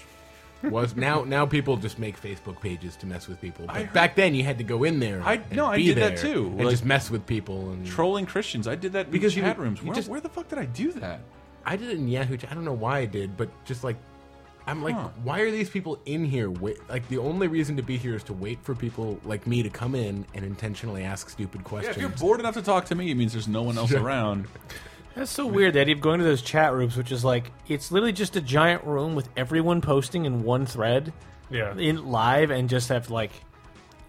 S4: was now now people just make Facebook pages to mess with people. But
S2: I heard-
S4: back then you had to go in there.
S2: I-
S4: and
S2: no, I
S4: be
S2: did that
S4: there
S2: too,
S4: and
S2: like-
S4: just mess with people and
S2: Trolling Christians. I did that
S4: Because
S2: in
S4: you-
S2: chat rooms.
S4: you
S2: Where,
S4: just-
S2: where the fuck did I do that?
S4: I did it in Yahoo. Chat. I don't know why I did, but just like, I'm like,
S2: Huh.
S4: why are these people in here? Wait, like the only reason to be here is to wait for people like me to come in and intentionally ask stupid
S2: Yeah,
S4: questions.
S2: if you're bored enough to talk to me, it means there's no one else around.
S3: That's so weird. The idea of going to those chat rooms, which is like it's literally just a giant room with everyone posting in one thread,
S5: Yeah.
S3: in live, and just have like.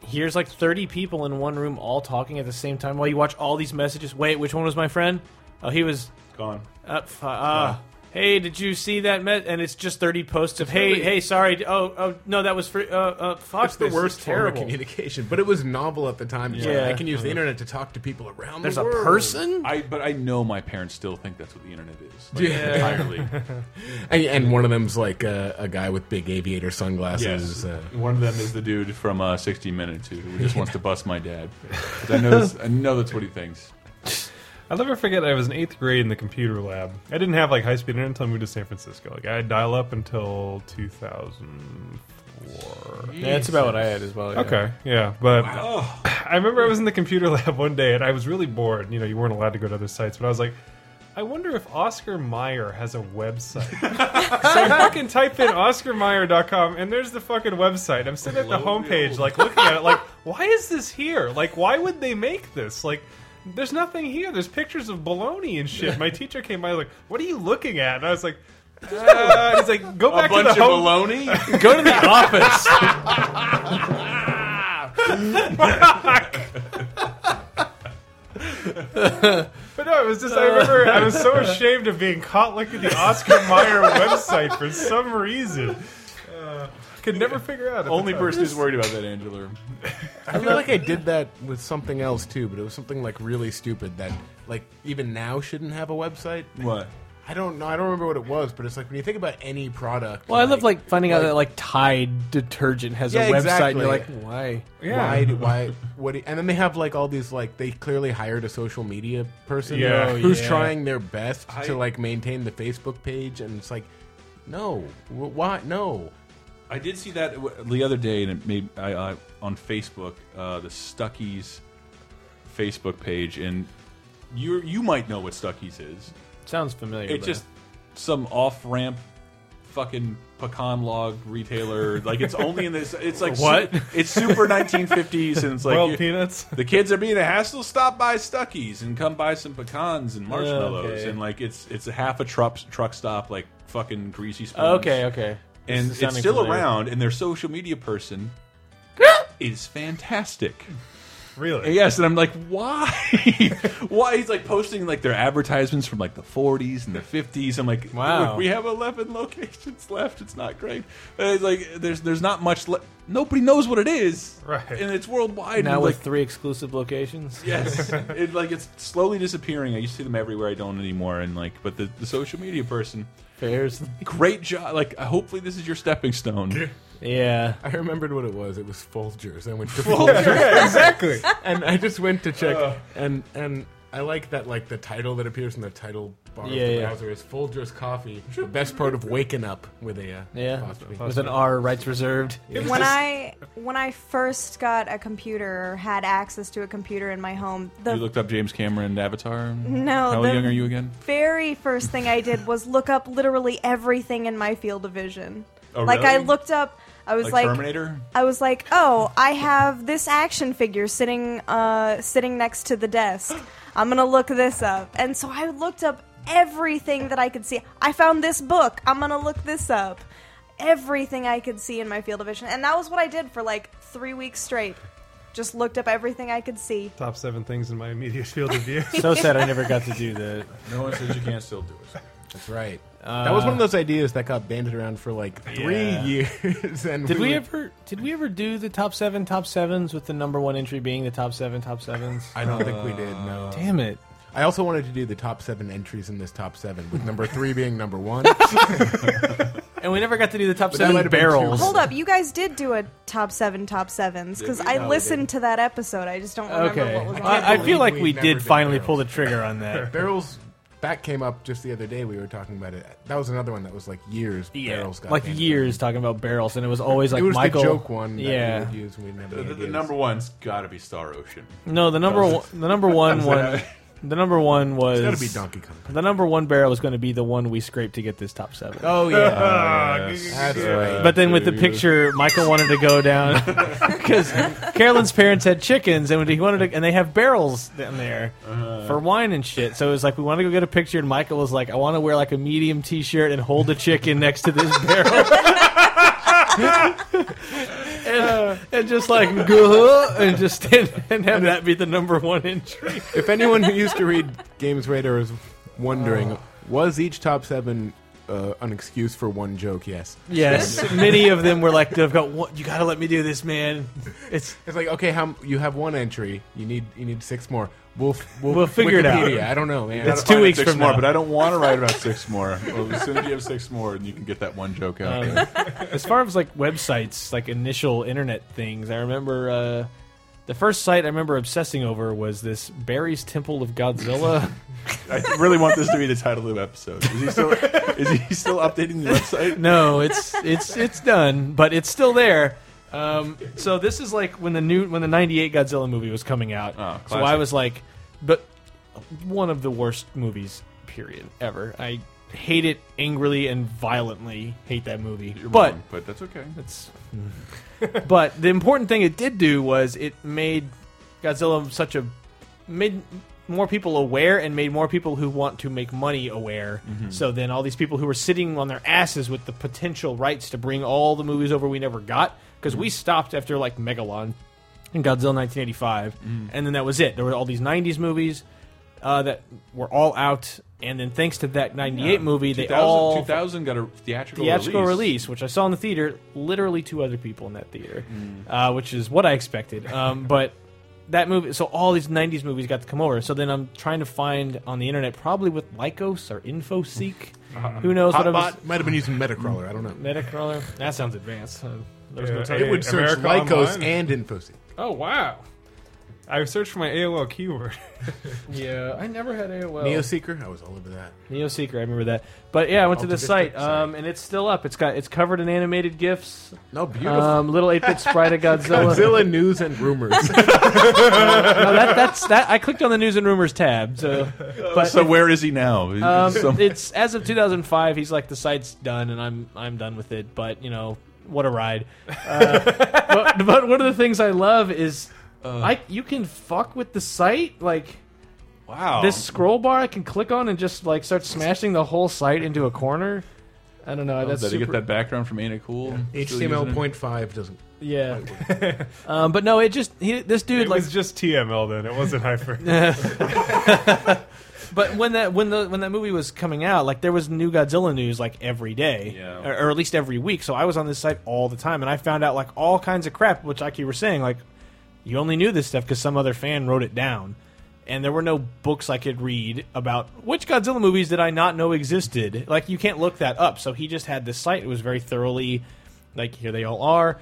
S3: Here's like 30 people in one room all talking at the same time while you watch all these messages. Wait, which one was my friend? Oh, he was
S2: Gone.
S3: up. Uh, uh, hey, did you see that? Met and it's just thirty posts of hey, hey, sorry. d- Oh, oh, no, that was for. Uh, uh, fuck,
S4: it's the
S3: this is
S4: worst form of
S3: terrible.
S4: communication, but it was novel at the time. It's like,
S3: Yeah.
S4: I can use the internet to talk to people around.
S3: There's
S4: the
S3: a
S4: world.
S3: person.
S2: I but I know my parents still think that's what the internet is. Like,
S4: Yeah.
S2: Entirely.
S4: and, and one of them's like a, a guy with big aviator sunglasses. Uh,
S2: One of them is the dude from uh, 60 Minutes who who just wants to bust my dad. 'Cause I know, that's, I know that's what he thinks.
S5: I'll never forget I was in eighth grade in the computer lab. I didn't have like high speed internet until I moved to San Francisco. Like I had dial up until 2004.
S3: Yeah, that's about what I had as well. yeah.
S5: Okay, yeah, but I remember I was in the computer lab one day and I was really bored. You know, you weren't allowed to go to other sites, but I was like, I wonder if Oscar Meyer has a website. so I fucking type in oscarmeyer.com and there's the fucking website. I'm sitting at the
S2: Lo and
S5: homepage,
S2: behold.
S5: like looking at it, like, why is this here? Like, why would they make this? Like, there's nothing here. There's pictures of baloney and shit. My teacher came by, like, what are you looking at? And I was like, uh, he's like, go back
S2: a bunch
S5: to
S2: of
S5: the home.
S2: baloney?
S3: Go to the office.
S5: But no, it was just I remember I was so ashamed of being caught looking at the Oscar Mayer website for some reason. Uh, could never figure out. at the
S2: Only
S5: time.
S2: person who's worried about that, Angela.
S4: I feel like I did that with something else too, but it was something like really stupid that like even now shouldn't have a website.
S2: What?
S4: I don't know. I don't remember what it was, but it's like when you think about any product.
S3: Well, I love like finding out that like Tide detergent has
S4: Yeah,
S3: a website, and
S4: exactly.
S3: you're like, why?
S4: why do, why what? do- and then they have like all these like they clearly hired a social media person
S5: Yeah.
S4: who's- who's
S3: Oh, Yeah.
S4: trying their best
S2: I-
S4: to like maintain the Facebook page, and it's like, no, wh- why? No,
S2: I did see that w- the other day, and it made I, I, on Facebook uh, the Stuckies Facebook page, and you you might know what Stuckies is.
S3: Sounds familiar.
S2: It's
S3: but-
S2: just some off ramp, fucking pecan log retailer. like it's only in this. It's like
S3: What?
S2: su- it's super 1950s, and it's like
S5: Well,
S2: you-
S5: peanuts.
S2: the kids are being a hassle. Stop by Stuckies and come buy some pecans and marshmallows,
S3: Okay.
S2: and like it's it's a half a truck truck stop, like fucking greasy spoons
S3: okay, okay. This
S2: and
S3: is
S2: it's
S3: sounding
S2: still
S3: familiar.
S2: around, and their social media person is fantastic.
S5: Really?
S2: Yes, and I'm like, why? why he's like posting like their advertisements from like the 40s and the 50s. I'm like,
S3: Wow.
S2: we have 11 locations left. It's not great. And it's like there's there's not much. Le Nobody knows what it is,
S5: Right.
S2: And it's worldwide.
S3: Now
S2: and,
S3: with
S2: like,
S3: three exclusive locations.
S2: Yes, it like it's slowly disappearing. I used to see them everywhere. I don't anymore. And like, but the, the social media person,
S3: Fairs.
S2: great job. Like, hopefully this is your stepping stone.
S3: Yeah.
S4: I remembered what it was. It was Folgers. I went to Folgers,
S5: exactly.
S4: and I just went to check, and and I like that like the title that appears in the title bar
S3: Yeah,
S4: of the
S3: yeah.
S4: browser is Folgers Coffee. The best part of waking up with a uh,
S3: Yeah.
S4: apostrophe.
S3: With an R, rights reserved.
S1: when I when I first got a computer or had access to a computer in my home,
S2: You
S1: the
S2: looked up James Cameron Avatar.
S1: No,
S2: How
S1: the-
S2: young are you again?
S1: very first thing I did was look up literally everything in my field of vision.
S2: Oh,
S1: like I
S2: really?
S1: looked up I was
S2: Like,
S1: like,
S2: Terminator.
S1: I was like, "Oh, I have this action figure sitting uh sitting next to the desk. I'm going to look this up." And so I looked up everything that I could see. I found this book. I'm going to look this up. Everything I could see in my field of vision. And that was what I did for like 3 weeks straight. Just looked up everything I could see.
S5: Top seven things in my immediate field of view.
S3: So sad I never got to do that.
S2: No one says you can't still do it.
S4: That's right.
S3: Uh,
S4: that was one of those ideas that got banded around for like three
S3: Yeah.
S4: years. And
S3: Did we
S4: were-
S3: ever did we ever do the top seven top sevens with the number one entry being the top seven top sevens?
S4: I don't think we did. No.
S3: Damn it.
S4: I also wanted to do the top seven entries in this top seven, with number three being number one.
S3: And we never got to do the top
S4: that might
S3: seven
S4: have been too
S3: barrels.
S4: close.
S1: Hold up, you guys did do a top seven, top sevens because
S2: Did we?
S1: I
S2: No, we
S1: listened to that episode. I just don't remember
S3: Okay.
S1: what was on.
S3: I, I
S1: it.
S3: feel like
S4: We
S3: we
S4: never
S3: did
S4: did
S3: finally
S4: barrels.
S3: pull the trigger on that.
S4: Barrels that came up just the other day. We were talking about it. That was another one that was like years. Barrels got
S3: like
S4: banded.
S3: years talking about barrels, and it was always like
S4: it was
S3: Michael.
S4: the joke one. That
S3: yeah.
S4: We would use when we didn't have
S2: The,
S4: any
S2: the- the
S4: ideas.
S2: number one's got to be Star Ocean.
S3: No, the number one, the number one one,
S2: that-
S3: the number one was
S4: It's gotta be Donkey Kong.
S3: The number one barrel was going to be the one we scraped to get this top seven.
S4: Oh yeah,
S5: Ah, g- g-
S4: that's right.
S3: But then with the picture, Michael wanted to go down because Carolyn's parents had chickens, and he wanted to, and they have barrels down there for wine and shit. So it was like we want to go get a picture, and Michael was like, "I want to wear like a medium T-shirt and hold a chicken next to this barrel." and, and just like "Gah," and just and, and have that be the number one entry.
S4: if anyone who used to read Games Radar is wondering, was each top seven uh, an excuse for one joke? Yes.
S3: Yes, many of them were like, "I've got one, you got to let me do this, man." It's
S4: It's like okay, how you have one entry, you need you need six more. We'll we'll,
S3: We'll figure it out.
S4: Wikipedia, I don't know, man.
S3: It's
S2: Gotta find
S3: weeks
S2: six
S3: from
S2: more,
S3: now.
S2: but I don't want to write about six more. Well, as soon as you have six more, and you can get that one joke out.
S3: Um.
S2: there.
S3: as far as like websites, like initial internet things, I remember uh, the first site I remember obsessing over was this Barry's Temple of Godzilla.
S2: I really want this to be the title of the episode. Is he still is he still updating the website?
S3: no, it's it's it's done, but it's still there. Um, so this is like when the new when the '98 Godzilla movie was coming out.
S2: Oh,
S3: so I
S2: classic.
S3: was like, but one of the worst movies, period, ever. I hate it angrily and violently. Hate that movie,
S2: You're
S3: but.
S2: wrong, but that's okay.
S3: It's, but the important thing it did do was it made Godzilla such a made more people aware and made more people who want to make money aware. So then all these people who were sitting on their asses with the potential rights to bring all the movies over we never got because we stopped after like Megalon and Godzilla 1985, and then that was it. There were all these 90s movies. Uh, that were all out, and then thanks to that '98 movie, they
S2: 2000,
S3: all
S2: 2000 got a theatrical,
S3: theatrical release, which I saw in the theater. Literally two other people in that theater, uh, which is what I expected. Um, but that movie. So all these '90s movies got to come over. So then I'm trying to find on the internet, probably with Lycos or InfoSeek. Who knows what I was?
S4: Hotbot might have been using Metacrawler. I don't know.
S3: Metacrawler. That sounds advanced. Uh, there was no
S5: Yeah,
S3: telling.
S5: Hey,
S4: It would search
S5: America
S4: Lycos
S5: Online.
S4: and InfoSeek.
S5: Oh wow! I searched for my AOL keyword.
S3: Yeah, I never had AOL.
S4: Neo Seeker. I was all over that.
S3: Neo Seeker, I remember that. But yeah, I went to the
S4: Altruistic
S3: site,
S4: site.
S3: um, and it's still up. It's got it's covered in animated gifs.
S4: No, beautiful.
S3: Um, little eight bit sprite of Godzilla.
S4: Godzilla news and rumors.
S3: No, that, that's that. I clicked on the news and rumors tab. So, but
S2: So where is he now?
S3: um,
S2: Some-
S3: it's as of 2005. He's like the site's done, and I'm I'm done with it. But you know what a ride. Uh, but, but one of the things I love is I you can fuck with the site like.
S2: wow.
S3: this scroll bar I can click on and just like start smashing the whole site into a corner. I don't know.
S2: Did
S3: that's
S2: you Oh, get
S3: super,
S2: that background from Ain't It Cool? Still using
S4: HTML
S2: it?
S4: point five doesn't.
S3: yeah. um, but no, it just he, this dude
S5: It
S3: like.
S5: was just TML then. It wasn't hyper.
S3: But when that when the when that movie was coming out, like there was new Godzilla news like every day,
S2: Yeah.
S3: or, or at least every week. So I was on this site all the time, and I found out like all kinds of crap, which like you were saying, like you only knew this stuff because some other fan wrote it down. And there were no books I could read about which Godzilla movies did I not know existed. Like you can't look that up. So he just had this site. It was very thoroughly, like here they all are,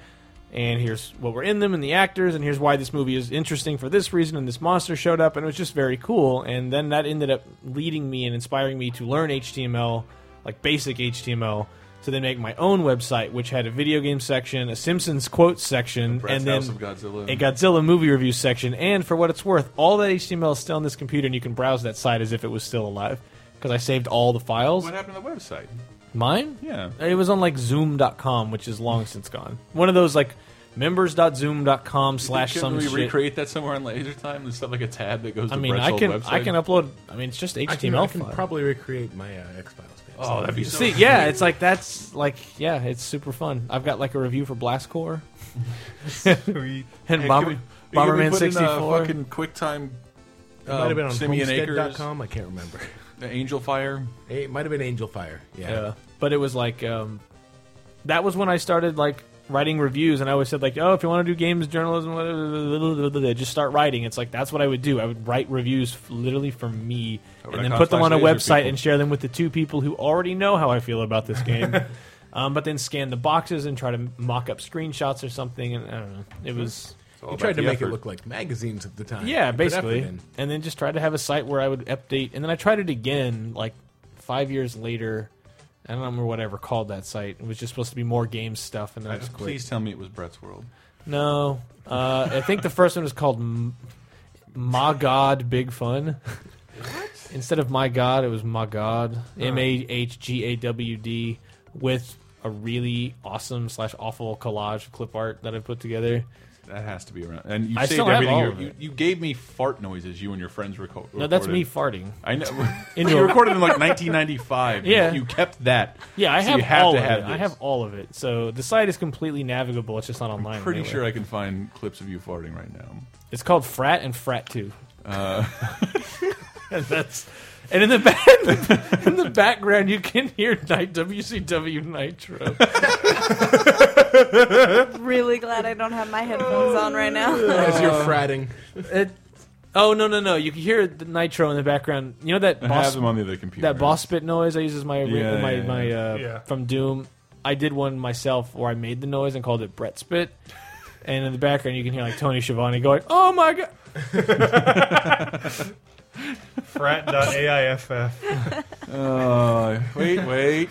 S3: and here's what were in them, and the actors, and here's why this movie is interesting for this reason, and this monster showed up, and it was just very cool. And then that ended up leading me and inspiring me to learn HTML, like basic HTML. To then make my own website, which had a video game section, a Simpsons quote section,
S2: Brad's
S3: and then
S2: House of Godzilla.
S3: a Godzilla movie review section, and for what it's worth, all that HTML is still on this computer, and you can browse that site as if it was still alive because I saved all the files.
S2: What happened to the website?
S3: Mine?
S2: Yeah.
S3: It was on like Zoom.com, which is long since gone. One of those like members.zoom.com slash
S2: Can
S3: some
S2: we
S3: shit.
S2: recreate that somewhere on Laser Time? There's stuff like a tab that goes.
S3: I
S2: to
S3: mean,
S2: Brett's
S3: I
S2: old
S3: can
S2: website?
S3: I can upload. I mean, it's just HTML
S4: I can, I can
S3: file.
S4: probably recreate my uh, X Files page.
S2: Oh, that'd be so.
S3: See, yeah, it's like that's like yeah, it's super fun. I've got like a review for Blastcore
S5: Sweet.
S3: and
S2: Hey, can
S3: Bomber,
S2: we- can we
S3: Bomberman
S2: put in, uh,
S3: sixty four.
S2: fucking QuickTime.
S4: it might have been on
S2: Simeon Acres,
S4: homestead.com. I can't remember.
S2: the Angel Fire.
S4: It might have been Angel Fire. Yeah.
S3: Yeah. But it was like um, that was when I started like writing reviews, and I always said like, oh, if you want to do games journalism, blah, blah, blah, blah, blah, blah, blah, just start writing. It's like that's what I would do. I would write reviews f- literally for me, and then
S2: dot com
S3: put them on a
S2: slash laser
S3: website
S2: people.
S3: and share them with the two people who already know how I feel about this game. um, but then scan the boxes and try to mock up screenshots or something. And I don't know, it was.
S4: You tried to make it look like magazines at the time.
S3: Yeah,
S4: You put effort
S3: basically.
S4: in.
S3: And then just tried to have a site where I would update. And then I tried it again, like five years later. I don't remember what I ever called that site. It was just supposed to be more game stuff, and then I just quit.
S2: Please tell me it was Brett's World.
S3: No, uh, I think the first one was called M- "My God Big Fun." Instead of "My God," it was "My God" M A H G A W D with a really awesome slash awful collage of clip art that I put together.
S2: That has to be around. And you
S3: I
S2: saved
S3: still have
S2: everything.
S3: all
S2: you-
S3: of
S2: you,
S3: it.
S2: you gave me fart noises. You and your friends reco-
S3: No, that's me farting.
S2: I know.
S3: Into
S2: you
S3: a-
S2: recorded in like 1995. You-
S3: Yeah.
S2: you, kept that.
S3: Yeah, I
S2: So
S3: have,
S2: you have
S3: all
S2: to
S3: of
S2: have
S3: it. I
S2: this.
S3: have all of it. So the site is completely navigable. It's just not online.
S2: Pretty sure I can find clips of you farting right now.
S3: it's called Frat and Frat Two.
S2: Uh.
S3: and that's and in the back in the background you can hear night WCW Nitro.
S1: Really glad I don't have my headphones on right now.
S4: As you're
S3: Uh,
S4: fratting.
S3: It- oh no no no! You can hear the Nitro in the background. You know that
S2: I
S3: boss
S2: have them on the other computer.
S3: that boss spit noise I use as my
S2: Yeah,
S3: my
S2: yeah,
S3: my Uh,
S5: Yeah.
S3: from Doom. I did one myself where I made the noise and called it Brett Spit. And in the background, you can hear like Tony Schiavone going, "Oh my god!"
S5: Frat.aiff.
S2: Uh, wait, wait.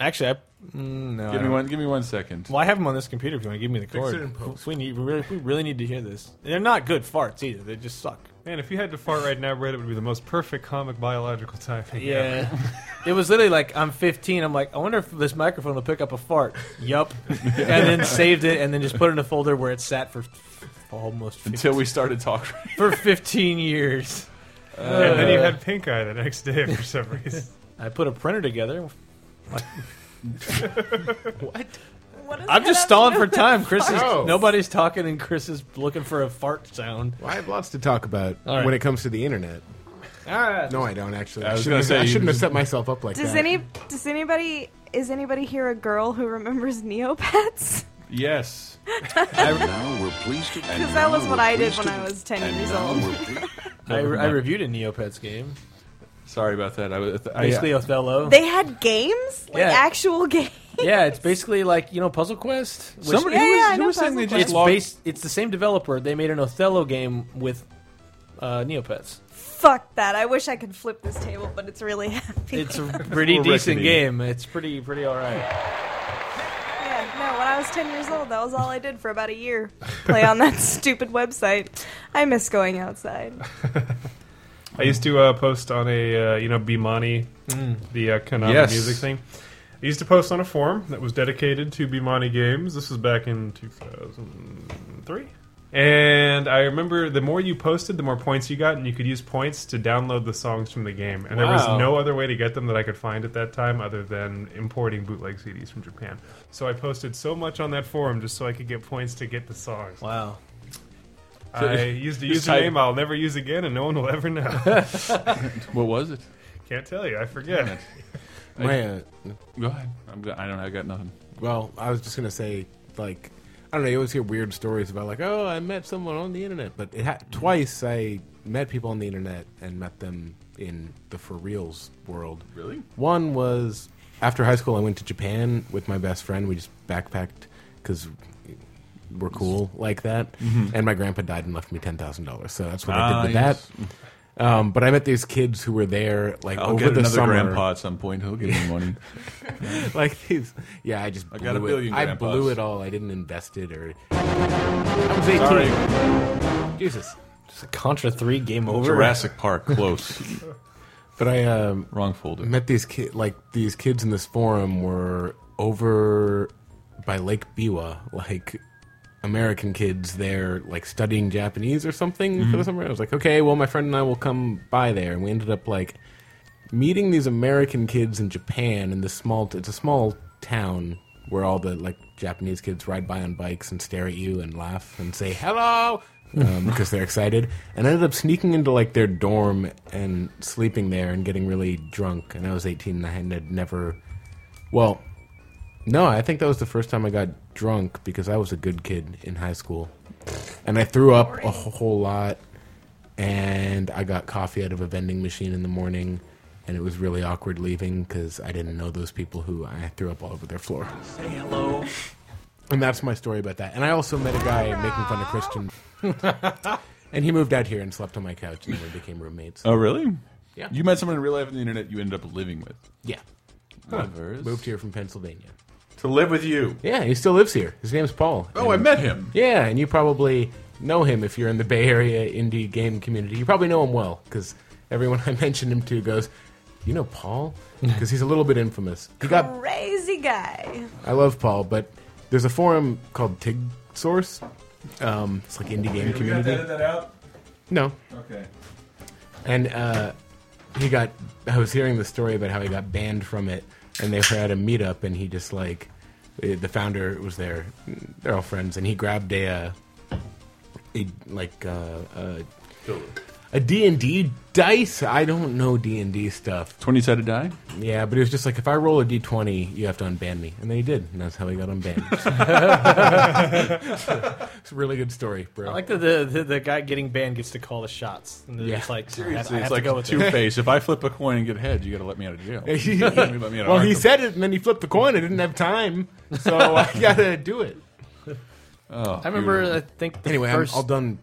S3: Actually, I, mm, no. I
S2: give me
S3: don't-
S2: one. Give me one second.
S3: Well, I have them on this computer. If you want to give me the cord,
S4: it in post.
S3: we need we really, we really need to hear this. They're not good farts either. They just suck.
S5: Man, if you had to fart right now, Reddit would be the most perfect comic biological timing. ever.
S3: it was literally like I'm 15. I'm like, I wonder if this microphone will pick up a fart. Yup. And then saved it, and then just put it in a folder where it sat for f- almost 15,
S2: Until we started talking.
S3: for 15 years. Uh,
S5: And then you had pink eye the next day for some reason.
S3: I put a printer together.
S1: What does
S3: I'm
S1: that
S3: just
S1: have
S3: stalling
S1: to do
S3: for
S1: with
S3: time. Chris is
S4: Oh.
S3: nobody's talking, and Chris is looking for a fart sound.
S4: Well, I have lots to talk about
S3: All right.
S4: when it comes to the internet.
S3: Ah,
S4: No, I don't actually. I,
S2: was
S4: shouldn't,
S2: gonna
S4: have,
S2: say, you
S4: I shouldn't have
S2: just-
S4: set myself up like
S1: Does
S4: that.
S1: any does anybody is anybody here a girl who remembers Neopets?
S2: Yes.
S9: Now we're pleased to.
S1: Because that was what I did when I was 10 years old.
S3: I, I reviewed a Neopets game,
S2: Sorry about that. I was I,
S3: basically Othello.
S1: They had games? Like
S3: Yeah.
S1: actual games?
S3: yeah, it's basically like you know Puzzle Quest. which-
S2: Somebody
S1: Yeah,
S2: who was,
S1: yeah, I
S2: who
S1: know
S2: was saying they
S1: Puzzle
S2: just
S3: it's
S2: logged.
S3: based. It's the same developer. They made an Othello game with uh, Neopets.
S1: Fuck that. I wish I could flip this table, but it's really happy.
S3: It's a pretty
S2: Or
S3: decent
S2: Rickety.
S3: game. It's pretty pretty all right.
S1: Yeah, no, when I was 10 years old, that was all I did for about a year. Play on that stupid website. I miss going outside.
S5: I used to uh, post on a uh, you know Bimani, the uh, Konami
S2: Yes.
S5: music thing. I used to post on a forum that was dedicated to Bimani games. This was back in 2003. And I remember the more you posted, the more points you got, and you could use points to download the songs from the game. And there
S3: Wow.
S5: was no other way to get them that I could find at that time other than importing bootleg CDs from Japan. So I posted so much on that forum just so I could get points to get the songs.
S3: Wow.
S5: I used a
S2: Just type-
S5: username I'll never use again, and no one will ever know.
S2: What was it?
S5: Can't tell you, I forget.
S4: My, uh,
S2: Go ahead. I'm, go- I don't. I got nothing.
S4: well, I was just gonna say, like, I don't know. You always hear weird stories about like, oh, I met someone on the internet, but it ha- twice I met people on the internet and met them in the for reals world.
S2: Really?
S4: One was after high school. I went to Japan with my best friend. We just backpacked because we're cool like that.
S2: Mm-hmm.
S4: And my grandpa died and left me ten thousand dollars. So that's what I
S2: Ah,
S4: did with
S2: yes.
S4: that. Um, but I met these kids who were there like
S2: I'll
S4: over
S2: get
S4: the
S2: another
S4: summer.
S2: grandpa at some point. He'll give me money.
S4: like these. Yeah, I just blew
S2: got a
S4: it.
S2: billion
S4: I
S2: grandpas.
S4: blew it all. I didn't invest it or. I was eighteen. Jesus.
S3: It's a Contra three game over.
S2: Jurassic Park, close.
S4: But I um,
S2: Wrong folder.
S4: met these kid like these kids in this forum were over by Lake Biwa, like American kids there, like studying Japanese or something for the summer. I was like, okay, well, my friend and I will come by there, and we ended up like meeting these American kids in Japan in this small. It's a small town where all the like Japanese kids ride by on bikes and stare at you and laugh and say hello um, because they're excited. And I ended up sneaking into like their dorm and sleeping there and getting really drunk. And I was 18 and I had never. Well, no, I think that was the first time I got drunk because I was a good kid in high school, and I threw up a whole lot and I got coffee out of a vending machine in the morning, and it was really awkward leaving because I didn't know those people who I threw up all over their floor. Say hello. And that's my story about that. And I also met a guy making fun of Christian, and he moved out here and slept on my couch, and then we became roommates.
S2: oh, really?
S4: Yeah.
S2: You met someone in real life on the internet. You ended up living with.
S4: Yeah,
S2: Lovers.
S4: moved here from Pennsylvania.
S2: to live with you.
S4: Yeah, he still lives here. His name's Paul.
S2: Oh, I
S4: And-
S2: met him.
S4: Yeah, and you probably know him if you're in the Bay Area indie game community. You probably know him well because everyone I mentioned him to goes, "You know Paul?" Because he's a little bit infamous. He got
S1: Crazy guy.
S4: I love Paul, but there's a forum called Tig Source. Um, it's like indie game community.
S2: that out.
S4: No,
S2: Okay.
S4: and uh, he got. I was hearing the story about how he got banned from it, and they were at a meetup, and he just like eh, the founder was there. They're all friends, and he grabbed a, uh, a like uh, a a D and D dice. I don't know D and D stuff.
S2: Twenty sided die.
S4: Yeah, but it was just like if I roll a D twenty, you have to unban me, and then he did, and that's how he got unbanned. it's a really good story, bro.
S3: I like that the, the the guy getting banned gets to call the shots. And yeah.
S4: Yeah.
S3: It's like
S2: Seriously,
S3: I, have
S2: it's
S3: to
S2: like
S3: go with
S2: Two
S3: it.
S2: Face. If I flip a coin and get heads, you got to let me out of jail. You gotta let me out of
S4: well, he
S2: Arkham.
S4: said it, and then he flipped the coin. I didn't have time, so I gotta do it.
S2: Oh,
S3: I remember. uh,
S2: beautiful.
S3: I think the
S4: Anyway, i
S3: first.
S4: I'm all done.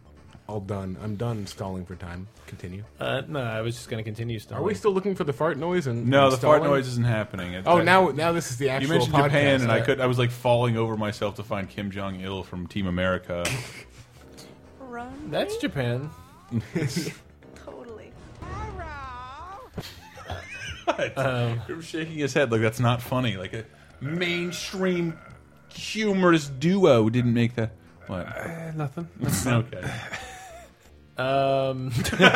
S4: All done. I'm done stalling for time. Continue.
S3: uh, no, I was just going to continue. Still.
S4: Are we still looking for the fart noise? And
S2: no,
S4: and
S2: the fart
S4: stalling?
S2: noise isn't happening. It-
S4: Oh,
S2: I-
S4: now now this is the
S2: you
S4: actual.
S2: mentioned
S4: podcast.
S2: Japan, and I
S4: Uh,
S2: could. I was like falling over myself to find Kim Jong Il from Team America.
S1: Run.
S3: That's Japan.
S1: Totally.
S2: He was shaking his head like that's not funny. Like a mainstream humorous duo didn't make that. What?
S3: Uh,
S5: nothing.
S2: okay.
S3: Um, uh,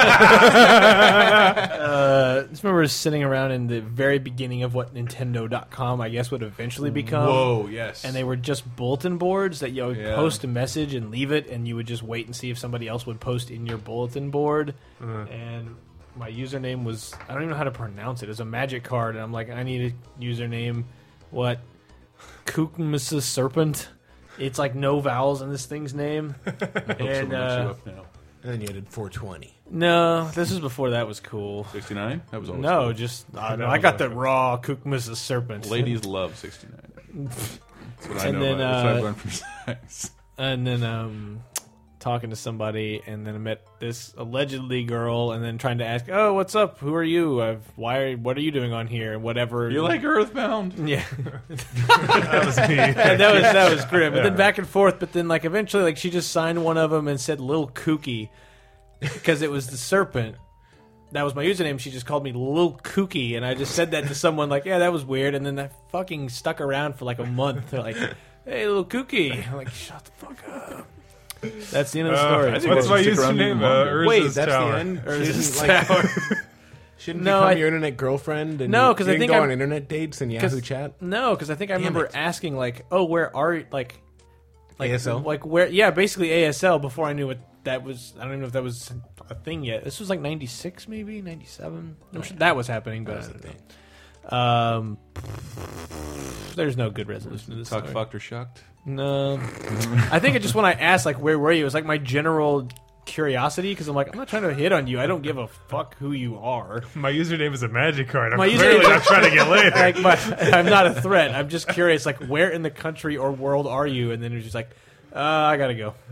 S3: I just remember sitting around in the very beginning of what Nintendo.com, I guess, would eventually become.
S2: Whoa. Yes.
S3: And they were just bulletin boards that you would
S2: Yeah.
S3: post a message and leave it, and you would just wait and see if somebody else would post in your bulletin board.
S2: Uh-huh.
S3: And my username was I don't even know how to pronounce it. It was a magic card, and I'm like, I need a username. What? Kukmasa Serpent? It's like no vowels in this thing's name. and
S2: Someone will show
S3: uh,
S2: up now.
S4: And then you added 420.
S3: no, this was before that was cool.
S2: 69? That was always
S3: No, just I, I got the raw Kukmas the serpent.
S2: cool. Ladies love 69. That's what I
S3: And
S2: know
S3: then,
S2: about it. That's what
S3: uh,
S2: I've learned from sex.
S3: and then um talking to somebody and then I met this allegedly girl and then trying to ask, "Oh, what's up? Who are you? I've, why are what are you doing on here?" and whatever.
S2: You like Earthbound?
S3: Yeah. that was that was that was grim. But then back and forth. But then like eventually, like she just signed one of them and said "Lil Kooky" because it was the serpent. That was my username. She just called me Lil Kooky, and I just said that to someone. Like, yeah, that was weird. And then that fucking stuck around for like a month. They're like, hey, Lil Kooky. I'm like, shut the fuck up. That's the end of the story.
S5: Uh,
S2: we'll
S5: what's my
S2: stick around
S5: username?
S2: even
S5: Uh,
S2: longer.
S5: Urza's
S4: Wait, that's
S5: Tower.
S4: the end?
S3: Urza's
S4: shouldn't like, shouldn't
S3: No,
S4: become
S3: I-
S4: your internet girlfriend? And
S3: No,
S4: you-
S3: 'cause
S4: you
S3: I
S4: can
S3: think
S4: go
S3: I'm-
S4: on internet dates and Yahoo chat.
S3: No, because I think I remember
S4: it.
S3: asking like, "Oh, where are you?" Like, like
S4: ASL?
S3: like where? Yeah, basically ASL. Before I knew what that was, I don't even know if that was a thing yet. This was like '96, maybe '97. I'm sure that was happening, but I don't know. um, there's no good resolution to this.
S2: Tuck
S3: story.
S2: fucked or shucked?
S3: No, I think it just when I asked like, "Where were you?" It was like my general curiosity because I'm like, I'm not trying to hit on you. I don't give a fuck who you are.
S5: My username is a magic card. I'm
S3: My username-
S5: clearly not trying to get laid.
S3: like my, I'm not a threat. I'm just curious. Like, where in the country or world are you? And then it was just like, uh, I gotta go.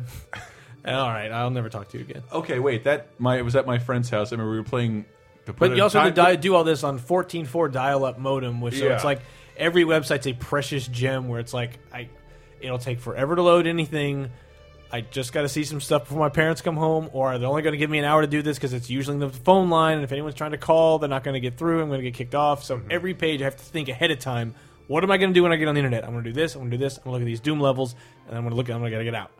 S3: All right, I'll never talk to you again.
S2: Okay, wait. That my it was at my friend's house. I remember we were playing. to put
S3: But
S2: a
S3: you also have to
S2: time-
S3: di- do all this on 14.4 dial-up modem, which so
S2: Yeah.
S3: it's like every website's a precious gem where it's like I, it'll take forever to load anything. I just got to see some stuff before my parents come home, or they're only going to give me an hour to do this because it's usually the phone line, and if anyone's trying to call, they're not going to get through. I'm going to get kicked off.
S2: Mm-hmm.
S3: So every page, I have to think ahead of time. What am I going to do when I get on the internet? I'm going to do this. I'm going to do this. I'm going to look at these Doom levels, and I'm going to look. at I'm going to get out.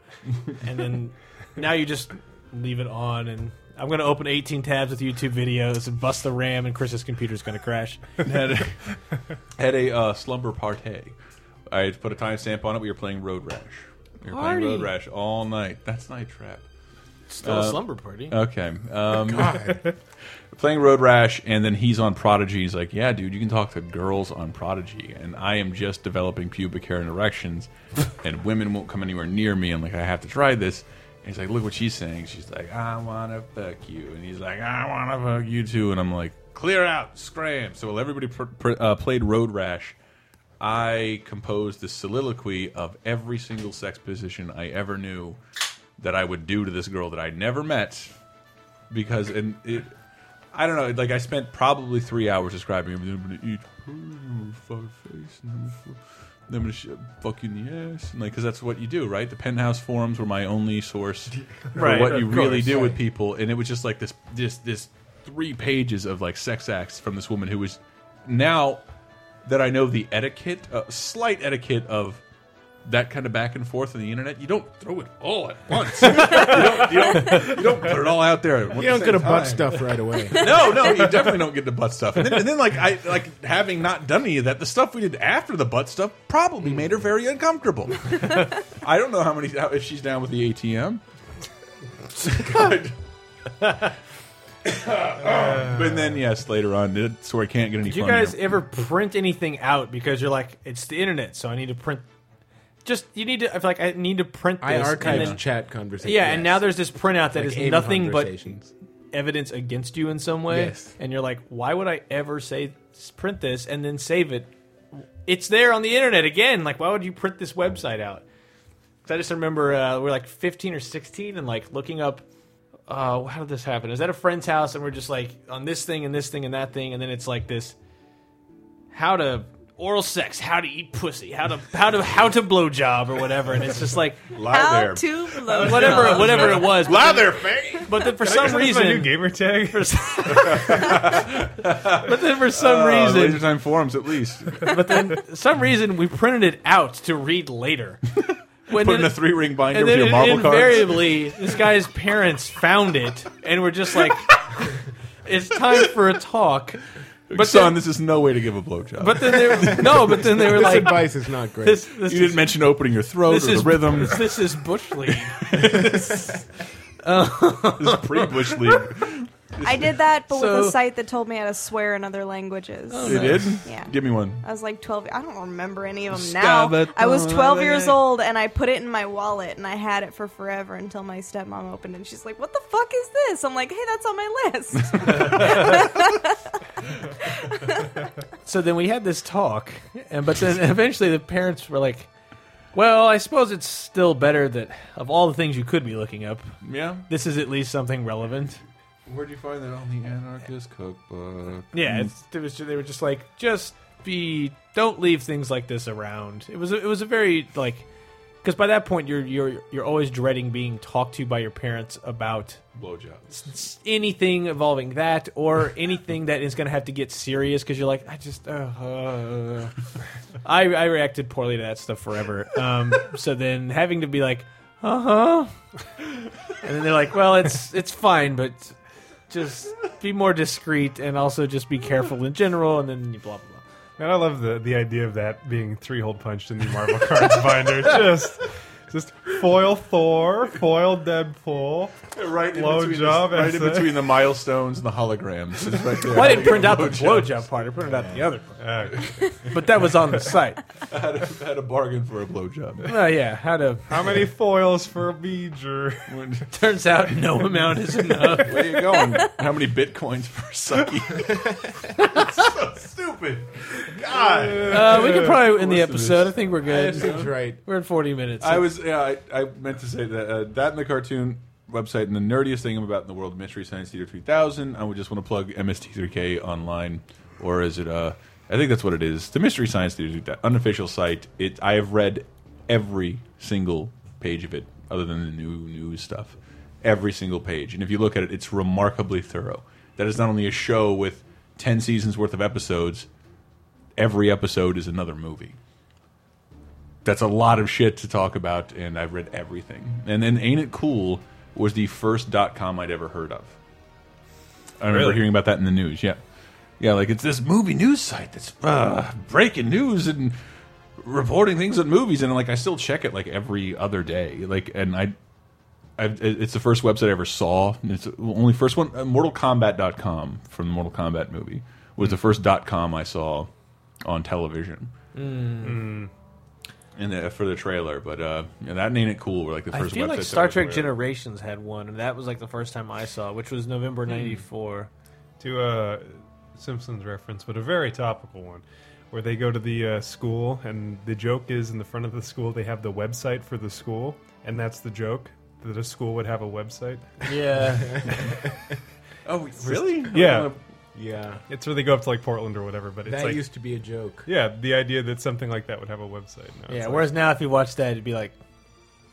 S3: and then now you just leave it on, and I'm going to open 18 tabs with YouTube videos and bust the RAM, and Chris's computer's going to crash.
S2: had a, had a uh, slumber party. I had put a timestamp on it. We were playing Road Rash. We were
S3: Party.
S2: playing Road Rash all night. That's Night Trap.
S3: Still
S2: Uh,
S3: a slumber party.
S2: Okay. Um, playing Road Rash, and then he's on Prodigy. He's like, "Yeah, dude, you can talk to girls on Prodigy, and I am just developing pubic hair and erections, and women won't come anywhere near me. And like, I have to try this." And he's like, "Look what she's saying." She's like, "I wanna fuck you," and he's like, "I wanna fuck you too." And I'm like, "Clear out, scram!" So while everybody pr pr uh, played Road Rash. I composed the soliloquy of every single sex position I ever knew that I would do to this girl that I never met because and it I don't know like I spent probably three hours describing him. I'm gonna eat her, I'm gonna fuck her face and I'm gonna, fu- and I'm gonna sh- fuck you in the ass and like because that's what you do right the penthouse forums were my only source for
S3: Right,
S2: what
S3: of
S2: you really do with people and it was just like this this this three pages of like sex acts from this woman who was now that I know the etiquette uh, slight etiquette of that kind of back and forth on the internet, you don't throw it all at once. you, don't, you, don't, you don't put it all out there.
S4: You don't get a butt stuff right away.
S2: No, no, you definitely don't get the butt stuff. And then, and then, like I like having not done any of that, the stuff we did after the butt stuff probably made her very uncomfortable. I don't know how many how, if she's down with the ATM. God. but then yes, later on, the story can't get any.
S3: Did you
S2: funnier.
S3: guys ever print anything out because you're like, it's the internet, so I need to print. Just you need to. I feel like I need to print. This
S4: I
S3: and
S4: archived
S3: then-
S4: chat conversations.
S3: Yeah, and now there's this printout that is nothing but
S4: conversations.
S3: evidence against you in some way,
S4: Yes.
S3: and you're like, why would I ever say print this and then save it? It's there on the internet again. Like, why would you print this website out? 'Cause I just remember uh, we we're like 15 or 16 and like looking up. Uh, how did this happen? Is that a friend's house? And we're just like on this thing and this thing and that thing, and then it's like this: how to oral sex, how to eat pussy, how to how to how to blowjob or whatever. And it's just like
S1: How
S2: Lie there,
S1: to blow
S3: whatever whatever it was.
S2: lie there, fang.
S3: But then for
S5: Is
S3: some
S5: this my new
S3: reason,
S5: gamer tag?
S3: for some- but then for some
S2: Uh,
S3: reason,
S2: Laser time forums, at least.
S3: but then some reason we printed it out to read later. When
S2: Put in
S3: it-
S2: a three ring binder
S3: and
S2: with
S3: then
S2: your
S3: it-
S2: marble cards.
S3: invariably, this guy's parents found it and were just like, "It's time for a talk." But
S2: Son,
S3: then,
S2: this is no way to give a blowjob.
S3: but then they were, no, but then they were
S4: This
S3: like,
S4: advice is not great.
S3: "This, this
S2: you
S3: is
S2: didn't mention opening your throat
S3: this
S2: or
S3: is
S2: the rhythm.
S3: This is bush league."
S2: This is pre-bush league.
S1: I did that, but with
S4: So-
S1: a site that told me how to swear in other languages.
S2: They did?
S1: Yeah.
S2: Give me one.
S1: I was like 12. I don't remember any of them now.
S2: Scabatona,
S1: I was 12 years
S2: baby.
S1: old and I put it in my wallet and I had it for forever until my stepmom opened it and she's like, "What the fuck is this?" I'm like, "Hey, that's on my list."
S3: So then we had this talk, and but then eventually the parents were like, "Well, I suppose it's still better that of all the things you could be looking up,
S2: Yeah.
S3: this is at least something relevant."
S2: Where'd you find that on the Anarchist Cookbook?
S3: Yeah, it's, it was. They were just like, just be. Don't leave things like this around. It was. A, it was a very like, because by that point you're you're you're always dreading being talked to by your parents about
S2: Blowjobs.
S3: s- anything involving that or anything that is going to have to get serious because you're like, I just, uh, uh, I I reacted poorly to that stuff forever. Um, so then having to be like, uh huh, and then they're like, well, it's it's fine, but just be more discreet and also just be careful in general, and then you blah blah. blah.
S5: Man, I love the the idea of that being three hole punched in the Marvel cards binder. Just, just foil Thor, foil Deadpool.
S2: Right, in
S5: Blow
S2: between
S5: job
S2: the, right in
S5: essay.
S2: between the milestones and the holograms. It's right there.
S3: Well, I didn't print out the blowjob part. I printed out the other part,
S5: Uh,
S3: but that was on the site.
S2: I had a, had a bargain for a blowjob.
S3: Oh yeah, how to?
S5: how many foils for a beeger?
S3: Turns out no amount is enough.
S2: Where you going? How many bitcoins for sucky? It's so stupid. God.
S3: Uh, we could probably end the
S2: Listen to
S3: episode. I
S2: this.
S3: think we're
S4: That
S3: good.
S4: seems right.
S3: We're at 40 minutes.
S2: I was yeah, I, I meant to say that uh, that and the cartoon website and the nerdiest thing I'm about in the world mystery science theater 3000. I would just want to plug MST3K online, or is it? Uh, I think that's what it is. The mystery science theater 3000, unofficial site. It I have read every single page of it, other than the new news stuff. Every single page, and if you look at it, it's remarkably thorough. That is not only a show with ten seasons worth of episodes. Every episode is another movie that's a lot of shit to talk about, and I've read everything. And then Ain't It Cool was the first dot com I'd ever heard of. I remember
S5: Really?
S2: hearing about that in the news, yeah. Yeah, like it's this movie news site that's uh, breaking news and reporting things on movies, and like I still check it like every other day. Like, and I, I it's the first website I ever saw. and It's the only first one, uh, MortalKombat.com from the Mortal Kombat movie was the first dot com I saw on television Hmm. in the, for the trailer, but uh, yeah, that ain't it cool. We're like the
S3: I
S2: first
S3: feel
S2: website
S3: like
S2: that
S3: Star
S2: was
S3: Trek
S2: aware.
S3: Generations had one, and that was like the first time I saw, it, which was November '94.
S5: to a Simpsons reference, but a very topical one, where they go to the uh, school, and the joke is in the front of the school they have the website for the school, and that's the joke that a school would have a website.
S3: Yeah,
S2: Oh, really?
S5: Yeah,
S4: Yeah.
S5: it's where they go up to like Portland or whatever, but it's
S4: That
S5: like
S4: used to be a joke.
S5: yeah, the idea that something like that would have a website. Now it's
S3: yeah.
S5: like,
S3: Whereas now, if you watch that, it'd be like,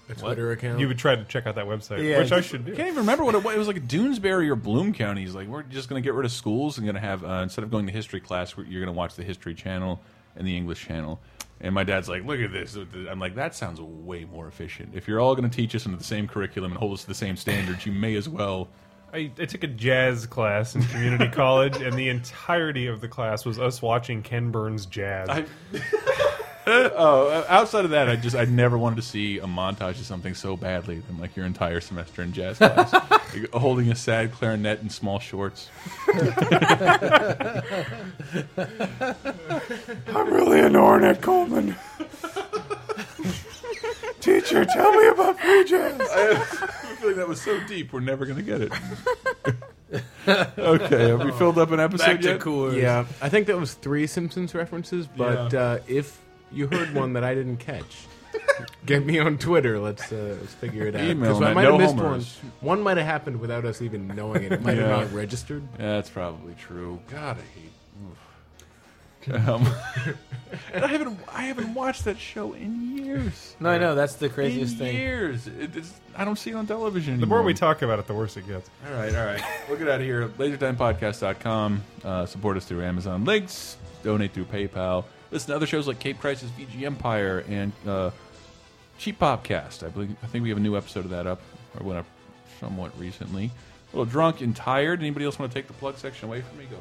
S4: A Twitter account.
S5: you would try to check out that website,
S3: Yeah,
S5: which I
S3: just-
S5: should do.
S2: I can't even remember what it was. It was like Doonesbury or Bloom County. He's like, we're just going to get rid of schools and going to have, uh, instead of going to history class, we're- you're going to watch the History Channel and the English Channel. And my dad's like, look at this. I'm like, that sounds way more efficient. If you're all going to teach us under the same curriculum and hold us to the same standards, you may as well.
S5: I, I took a jazz class in community college, and the entirety of the class was us watching Ken Burns jazz.
S2: I- oh, outside of that, I just I never wanted to see a montage of something so badly than like your entire semester in jazz class, Like, holding a sad clarinet in small shorts. I'm really adoring at Coleman. Teacher, tell me about free jazz. I feel like that was so deep. We're never gonna get it. okay, have we filled up an episode yet?
S4: Yeah, I think that was three Simpsons references, but
S2: Yeah.
S4: uh, if you heard one that I didn't catch, get me on Twitter. Let's, uh, let's figure it out. 'Cause
S2: Email
S4: I
S2: me,
S4: might
S2: no
S4: have missed
S2: homers.
S4: one. One might have happened without us even knowing it. It might
S2: Yeah.
S4: have not registered.
S2: Yeah, that's probably true. God, I hate. Oof. Um, and I haven't I haven't watched that show in years.
S3: no, I know that's the
S2: In
S3: craziest thing.
S2: years, It- it's, I don't see it on television anymore.
S5: the more we talk about it, the worse it gets.
S2: all right, all right. We'll get out of here. LaserTimePodcast.com. Uh, support us through Amazon links. Donate through PayPal. Listen to other shows like Cape Crisis, VG Empire, and uh, Cheap Popcast. I believe I think we have a new episode of that up or went up somewhat recently. A little drunk and tired. Anybody else want to take the plug section away from me? Go.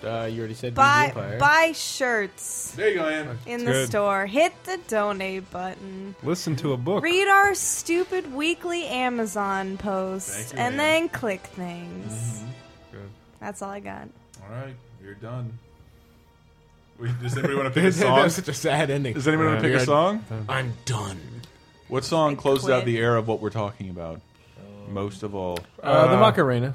S10: Uh, you already said
S1: Buy
S10: Vampire.
S1: buy shirts
S2: There you go, Ann.
S1: in
S5: It's
S1: the
S5: good.
S1: store. Hit the donate button.
S5: Listen to a book.
S1: Read our stupid weekly Amazon post
S2: Thank you,
S1: and
S2: Ann.
S1: then click things.
S5: Good.
S1: That's all I got.
S2: All right, you're done. We, does anybody want to pick a
S4: that
S2: song?
S4: was such a sad ending.
S2: Does anyone want to
S5: Yeah.
S2: pick a song?
S4: I'm done.
S2: What song closed out
S1: quit.
S2: the era of what we're talking about? Most of all.
S3: Uh, the Macarena,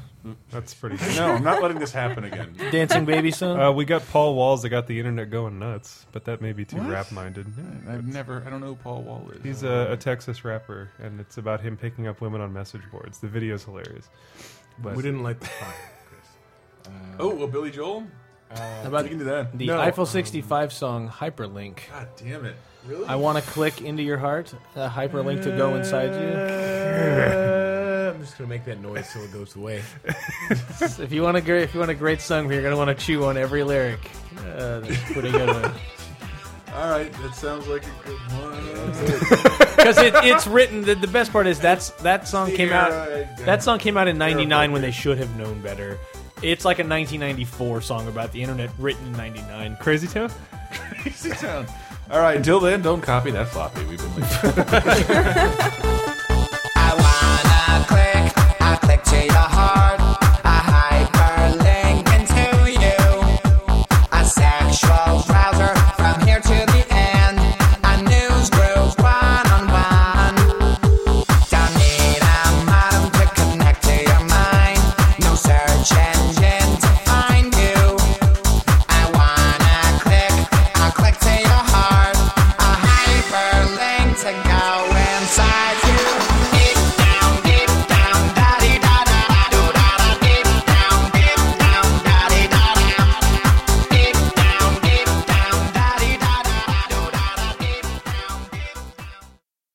S5: That's pretty good.
S2: No, I'm not letting this happen again.
S3: Dancing Baby Son.
S5: Uh, we got Paul Walls that got the internet going nuts, but that may be too
S2: What?
S5: rap minded.
S2: I've never. I don't know who Paul Wall is.
S5: He's a, a Texas rapper, and it's about him picking up women on message boards. The video's hilarious. But
S4: We didn't like the fire, Chris.
S2: oh, well, Billy Joel.
S10: How
S2: About into that.
S3: the
S4: no,
S3: Eiffel 65 song Hyperlink.
S2: God damn it! Really?
S3: I want to click into your heart, a hyperlink to go inside you.
S4: Uh, I'm just gonna make that noise till it goes away.
S3: If you want a great, if you want a great song, you're gonna want to chew on every lyric. Uh, that's pretty good one.
S2: All right, that sounds like a good one.
S3: Because it, it's written. The, the best part is that's that song came out. That song came out in '99 when they should have known better. It's like a 1994 song about the internet, written in '99.
S5: Crazy Town?
S2: Crazy Town. All right, until then, don't copy that floppy. We've been. Like-